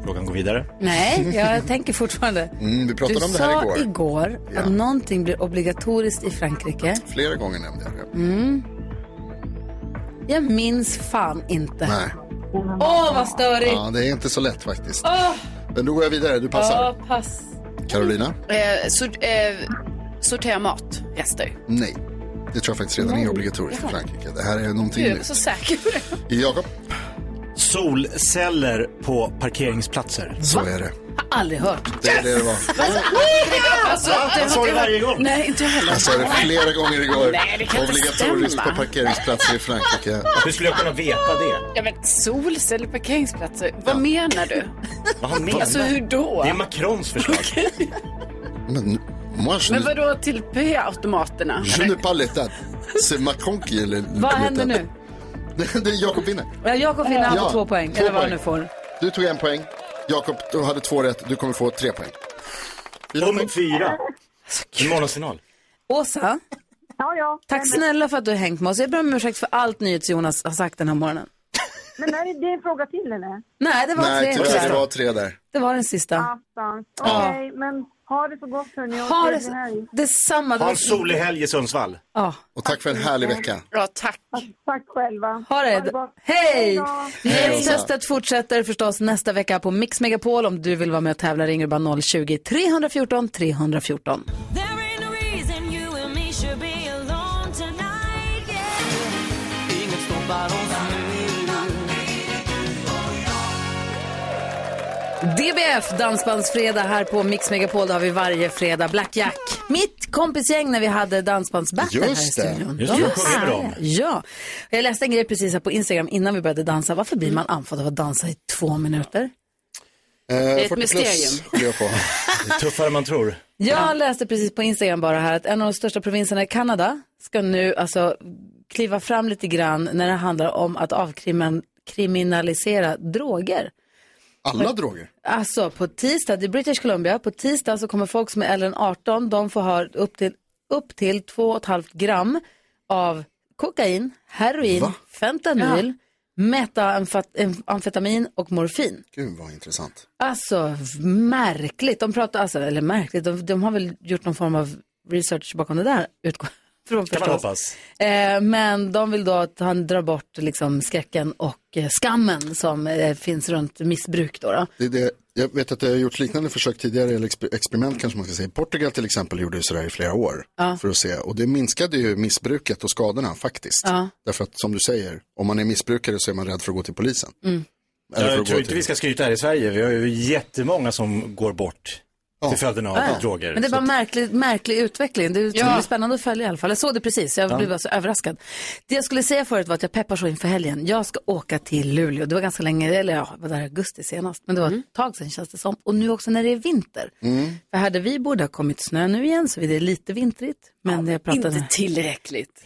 Frågan går vidare. Nej, jag tänker fortfarande. Mm, vi pratade du om det här sa igår. igår att Ja. någonting blir obligatoriskt i Frankrike. Flera gånger nämnde jag det. Mm. Jag minns fan inte. Nej. Åh, vad störigt! Ja, det är inte så lätt faktiskt. Åh, Men då går jag vidare. Du passar. Ja, pass. Carolina? Eh, sort, eh, sortera mat, rester. Nej. Det tror jag faktiskt redan är obligatoriskt i Jaha. Frankrike. Det här är Du någonting är nytt. så säker på det. Jakob? Solceller på parkeringsplatser. Så är det. Har aldrig hört. Det är det det var. Alltså, Va? det Jag sa har det inte jag- varje gång. Nej, inte jag heller. Jag sa det flera gånger igår. Nej, det kan inte Obligatoriskt stämma. på parkeringsplatser i Frankrike. Ah, Hur skulle jag kunna veta det? Ja, men solceller, parkeringsplatser. Vad menar du? Vad han menar? Alltså hur då? Det är Macrons förslag. Men, moi, je, Men vadå till p-automaterna? je ne parle pas. C'est Macron qui est le... Vad händer nu? Det, det är Jakob vinner. Ja, Jakob vinner, han får Ja, två poäng. två eller vad han poäng. nu får. Du tog en poäng. Jakob, du hade två rätt. Du kommer få tre poäng. Nummer fyra. Morgonsignal. Åsa, Ja, ja. tack snälla för att du har hängt med oss. Jag ber om ursäkt för allt NyhetsJonas har sagt den här morgonen. Men är det, det är en fråga till eller? Nej, det var Nej, tre. tyvärr, det tyvärr. var tre där. Det var den sista. Attans. Ja. Okej, men ha det så gott hörni. och Ha det trevlig så- helg. Detsamma. Ha en solig helg i Sundsvall. Och tack för en härlig vecka. Bra, tack. Tack själva. Ha det. gott. Hej! då. Nyhetstestet fortsätter förstås nästa vecka på Mix Megapol. Om du vill vara med och tävla ringer du bara 020-314 314. There ain't no reason you and me should be alone tonight, yeah. Ingen stoppar oss DBF, Dansbandsfredag här på Mix Megapol. Det har vi varje fredag. Blackjack. Mitt kompisgäng när vi hade dansbandsbattle här i Just det. studion. Just det, jag sjunger med härliga. dem. Ja. Jag läste en grej precis här på Instagram innan vi började dansa. Varför blir man anfådd av att dansa i två minuter? Eh, är ett 40 plus mysterium. håller jag på. Det är tuffare än man tror. Jag läste precis på Instagram bara här att en av de största provinserna i Kanada ska nu alltså kliva fram lite grann när det handlar om att avkriminalisera droger. Alla droger. Alltså på tisdag, det är British Columbia, på tisdag så kommer folk som är äldre än 18, de får ha upp till, upp till 2,5 gram av kokain, heroin, fentanyl, metamfetamin och morfin. Gud vad intressant. Alltså märkligt, de pratar, alltså, eller märkligt, de, de har väl gjort någon form av research bakom det där, utgår från Kan man förstås. hoppas. Eh, men de vill då att han drar bort liksom, skräcken och eh, skammen som eh, finns runt missbruk. Då, då. Det är det. Jag vet att det har gjorts liknande försök tidigare, eller exper- experiment kanske man ska säga. Portugal till exempel gjorde ju sådär i flera år. Ja. För att se. Och det minskade ju missbruket och skadorna faktiskt. Ja. Därför att som du säger, om man är missbrukare så är man rädd för att gå till polisen. Mm. Eller för Jag att tror gå inte till- vi ska skryta här i Sverige. Vi har ju jättemånga som går bort till följden av Ja. droger. Men det är bara märklig, märklig utveckling. Det är det är spännande att följa i alla fall. Jag såg det precis, jag Ja. blev bara så överraskad. Det jag skulle säga förut var att jag peppar så inför helgen. Jag ska åka till Luleå. Det var ganska länge, eller ja, jag var där i augusti senast. Men det var ett tag sedan känns det som. Och nu också när det är vinter. För hade vi borde ha kommit snö nu igen så det är lite vintrigt. Men jag pratade Inte tillräckligt.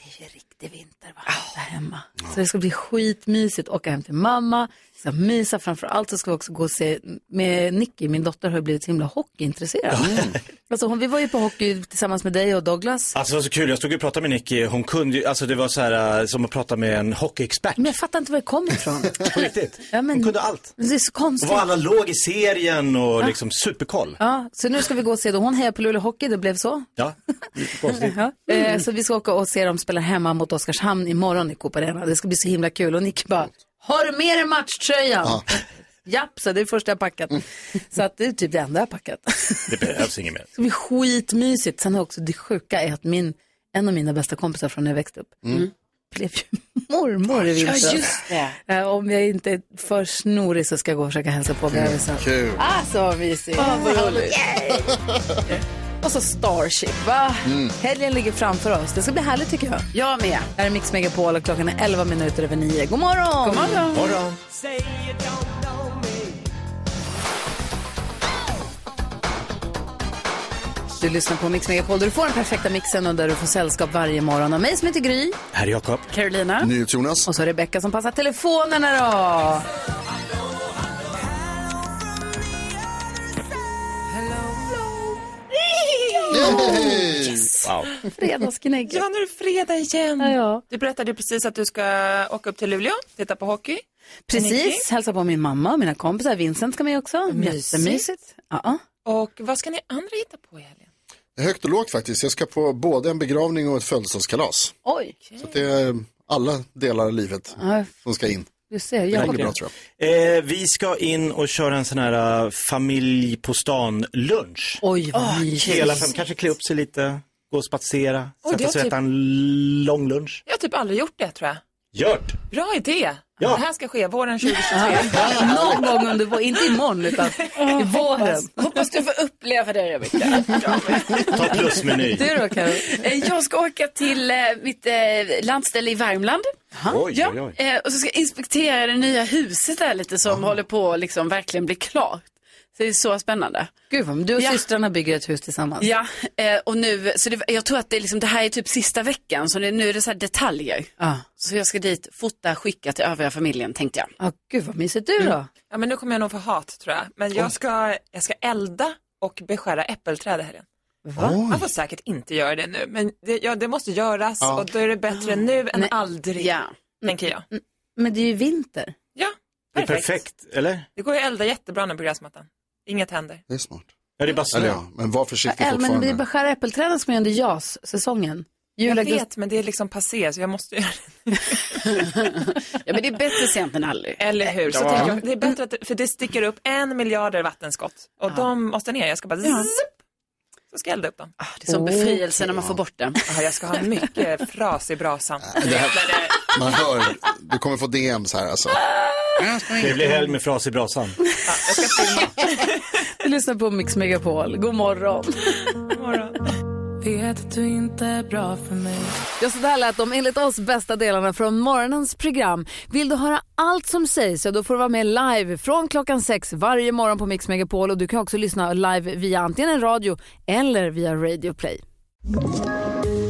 Så det ska bli skitmysigt. Åka hem till mamma, ska mysa. Framför allt så ska vi också gå och se med Nicky, min dotter har ju blivit så himla hockeyintresserad. Alltså, hon, vi var ju på hockey tillsammans med dig och Douglas. Alltså det var så kul, jag stod och pratade med Nicky, hon kunde ju, alltså det var så här äh, som att prata med en hockeyexpert. Men jag fattar inte var det kom ifrån. På riktigt. Ja, men, Hon kunde allt. Det är så Och konstigt. var alla låg i serien och liksom superkoll. Ja, så nu ska vi gå och se då. Hon hejar på Luleå Hockey, det blev så. Ja, lite konstigt. Ja. Eh, så vi ska åka och se dem spela hemma mot Oskarshamn imorgon i Coop Arena. Det ska bli så himla kul. Och Nick bara, har du med dig matchtröjan? Japp, så det är det första jag packat. Mm. Så att det är typ det enda jag packat. Det behövs inget mer. Det ska bli skitmysigt. Sen har också det sjuka är att min, en av mina bästa kompisar från när jag växte upp Mm. blev ju mormor i Ja, vintras. just det. Eh, Om jag inte är för snorig så ska jag gå och försöka hälsa på Mm. bebisen. Kul. Alltså vad mysigt. Fan, Ah, vad roligt. Yay! och så Starship, va? Helgen ligger framför oss. Det ska bli härligt tycker jag. Jag med. Här är Mix Megapol och klockan är 11 minuter över 9. God morgon! God morgon. morgon. Du lyssnar på Mix Megapol där du får den perfekta mixen och där du får sällskap varje morgon av mig som heter Gry. Här är Jakob. Carolina. Jonas. Och så Rebecka som passar telefonerna då. Yes. Wow. Fredagsgnägget. Ja, nu är det fredag igen. Du berättade ju precis att du ska åka upp till Luleå, titta på hockey. Precis, hälsa på min mamma och mina kompisar. Vincent ska med också. Mysigt. Jättemysigt. Ja. Och vad ska ni andra hitta på? Högt och lågt faktiskt. Jag ska på både en begravning och ett födelsedagskalas. Oj. Så att det är alla delar av livet Ja, som ska in. du ser. Det Jag blir bra tror jag. Eh, vi ska in och köra en sån här äh, familj på stan-lunch. Oj, vad mysigt. Hela fem, kanske klä upp sig lite, gå och spatsera, Oj, det sätta var sig och typ- äta en lång lunch. Jag har typ aldrig gjort det tror jag. Gjort! Bra idé! Ja. Det här ska ske våren 2023. Någon gång under våren, inte imorgon utan i våren. Hoppas du får uppleva det, Rebecka. Ta plusmeny. Du då, Karo? Eh, Jag ska åka till eh, mitt eh, landställe i Värmland. Oj, ja. oj, Ah. oj. Eh, och så ska jag inspektera det nya huset där lite som håller på att liksom verkligen bli klart. Så det är så spännande. Gud, vad- du och Ja. systrarna bygger ett hus tillsammans. Ja, eh, och nu, så det, jag tror att det, är liksom, det här är typ sista veckan, så det, nu är det så här detaljer. Ah. Så jag ska dit, fota, skicka till övriga familjen tänkte jag. Ah, gud vad mysigt. Du då? Ja, men nu kommer jag nog få hat tror jag. Men jag ska, jag ska elda och beskära äppelträd i helgen. Va? Man får säkert inte göra det nu, men det, ja, det måste göras Ja. och då är det bättre nu än aldrig, tänker jag. Men det är ju vinter. Det är perfekt, eller? Det går ju att elda jättebra nu på gräsmattan. Inget händer. Det är smart. Ja, det är bara snö. Eller ja, men var försiktig Äl, men vi fortfarande. beskär äppelträden som är under JAS-säsongen. Jul, jag augusti. vet, men det är liksom passé, så jag måste göra det. ja, men det är bättre sent än aldrig. Eller hur? Så Ja. tänker jag, det är bättre att, för det sticker upp en miljarder vattenskott och de måste ner. Jag ska bara zipp, så ska jag elda upp dem. det är som befrielse när man får bort det. Ja, jag ska ha mycket fras i brasan. Det här, man hör, du kommer få DM så här alltså. Det blir helg med fras i brasan. Du lyssnar på Mix Megapol. God morgon. Vet att du inte är bra för mig Ja, så där lät de enligt oss bästa delarna från morgonens program. Vill du höra allt som sägs så då får du vara med live från klockan sex varje morgon på Mix Megapol och du kan också lyssna live via antingen en radio eller via Radio Play.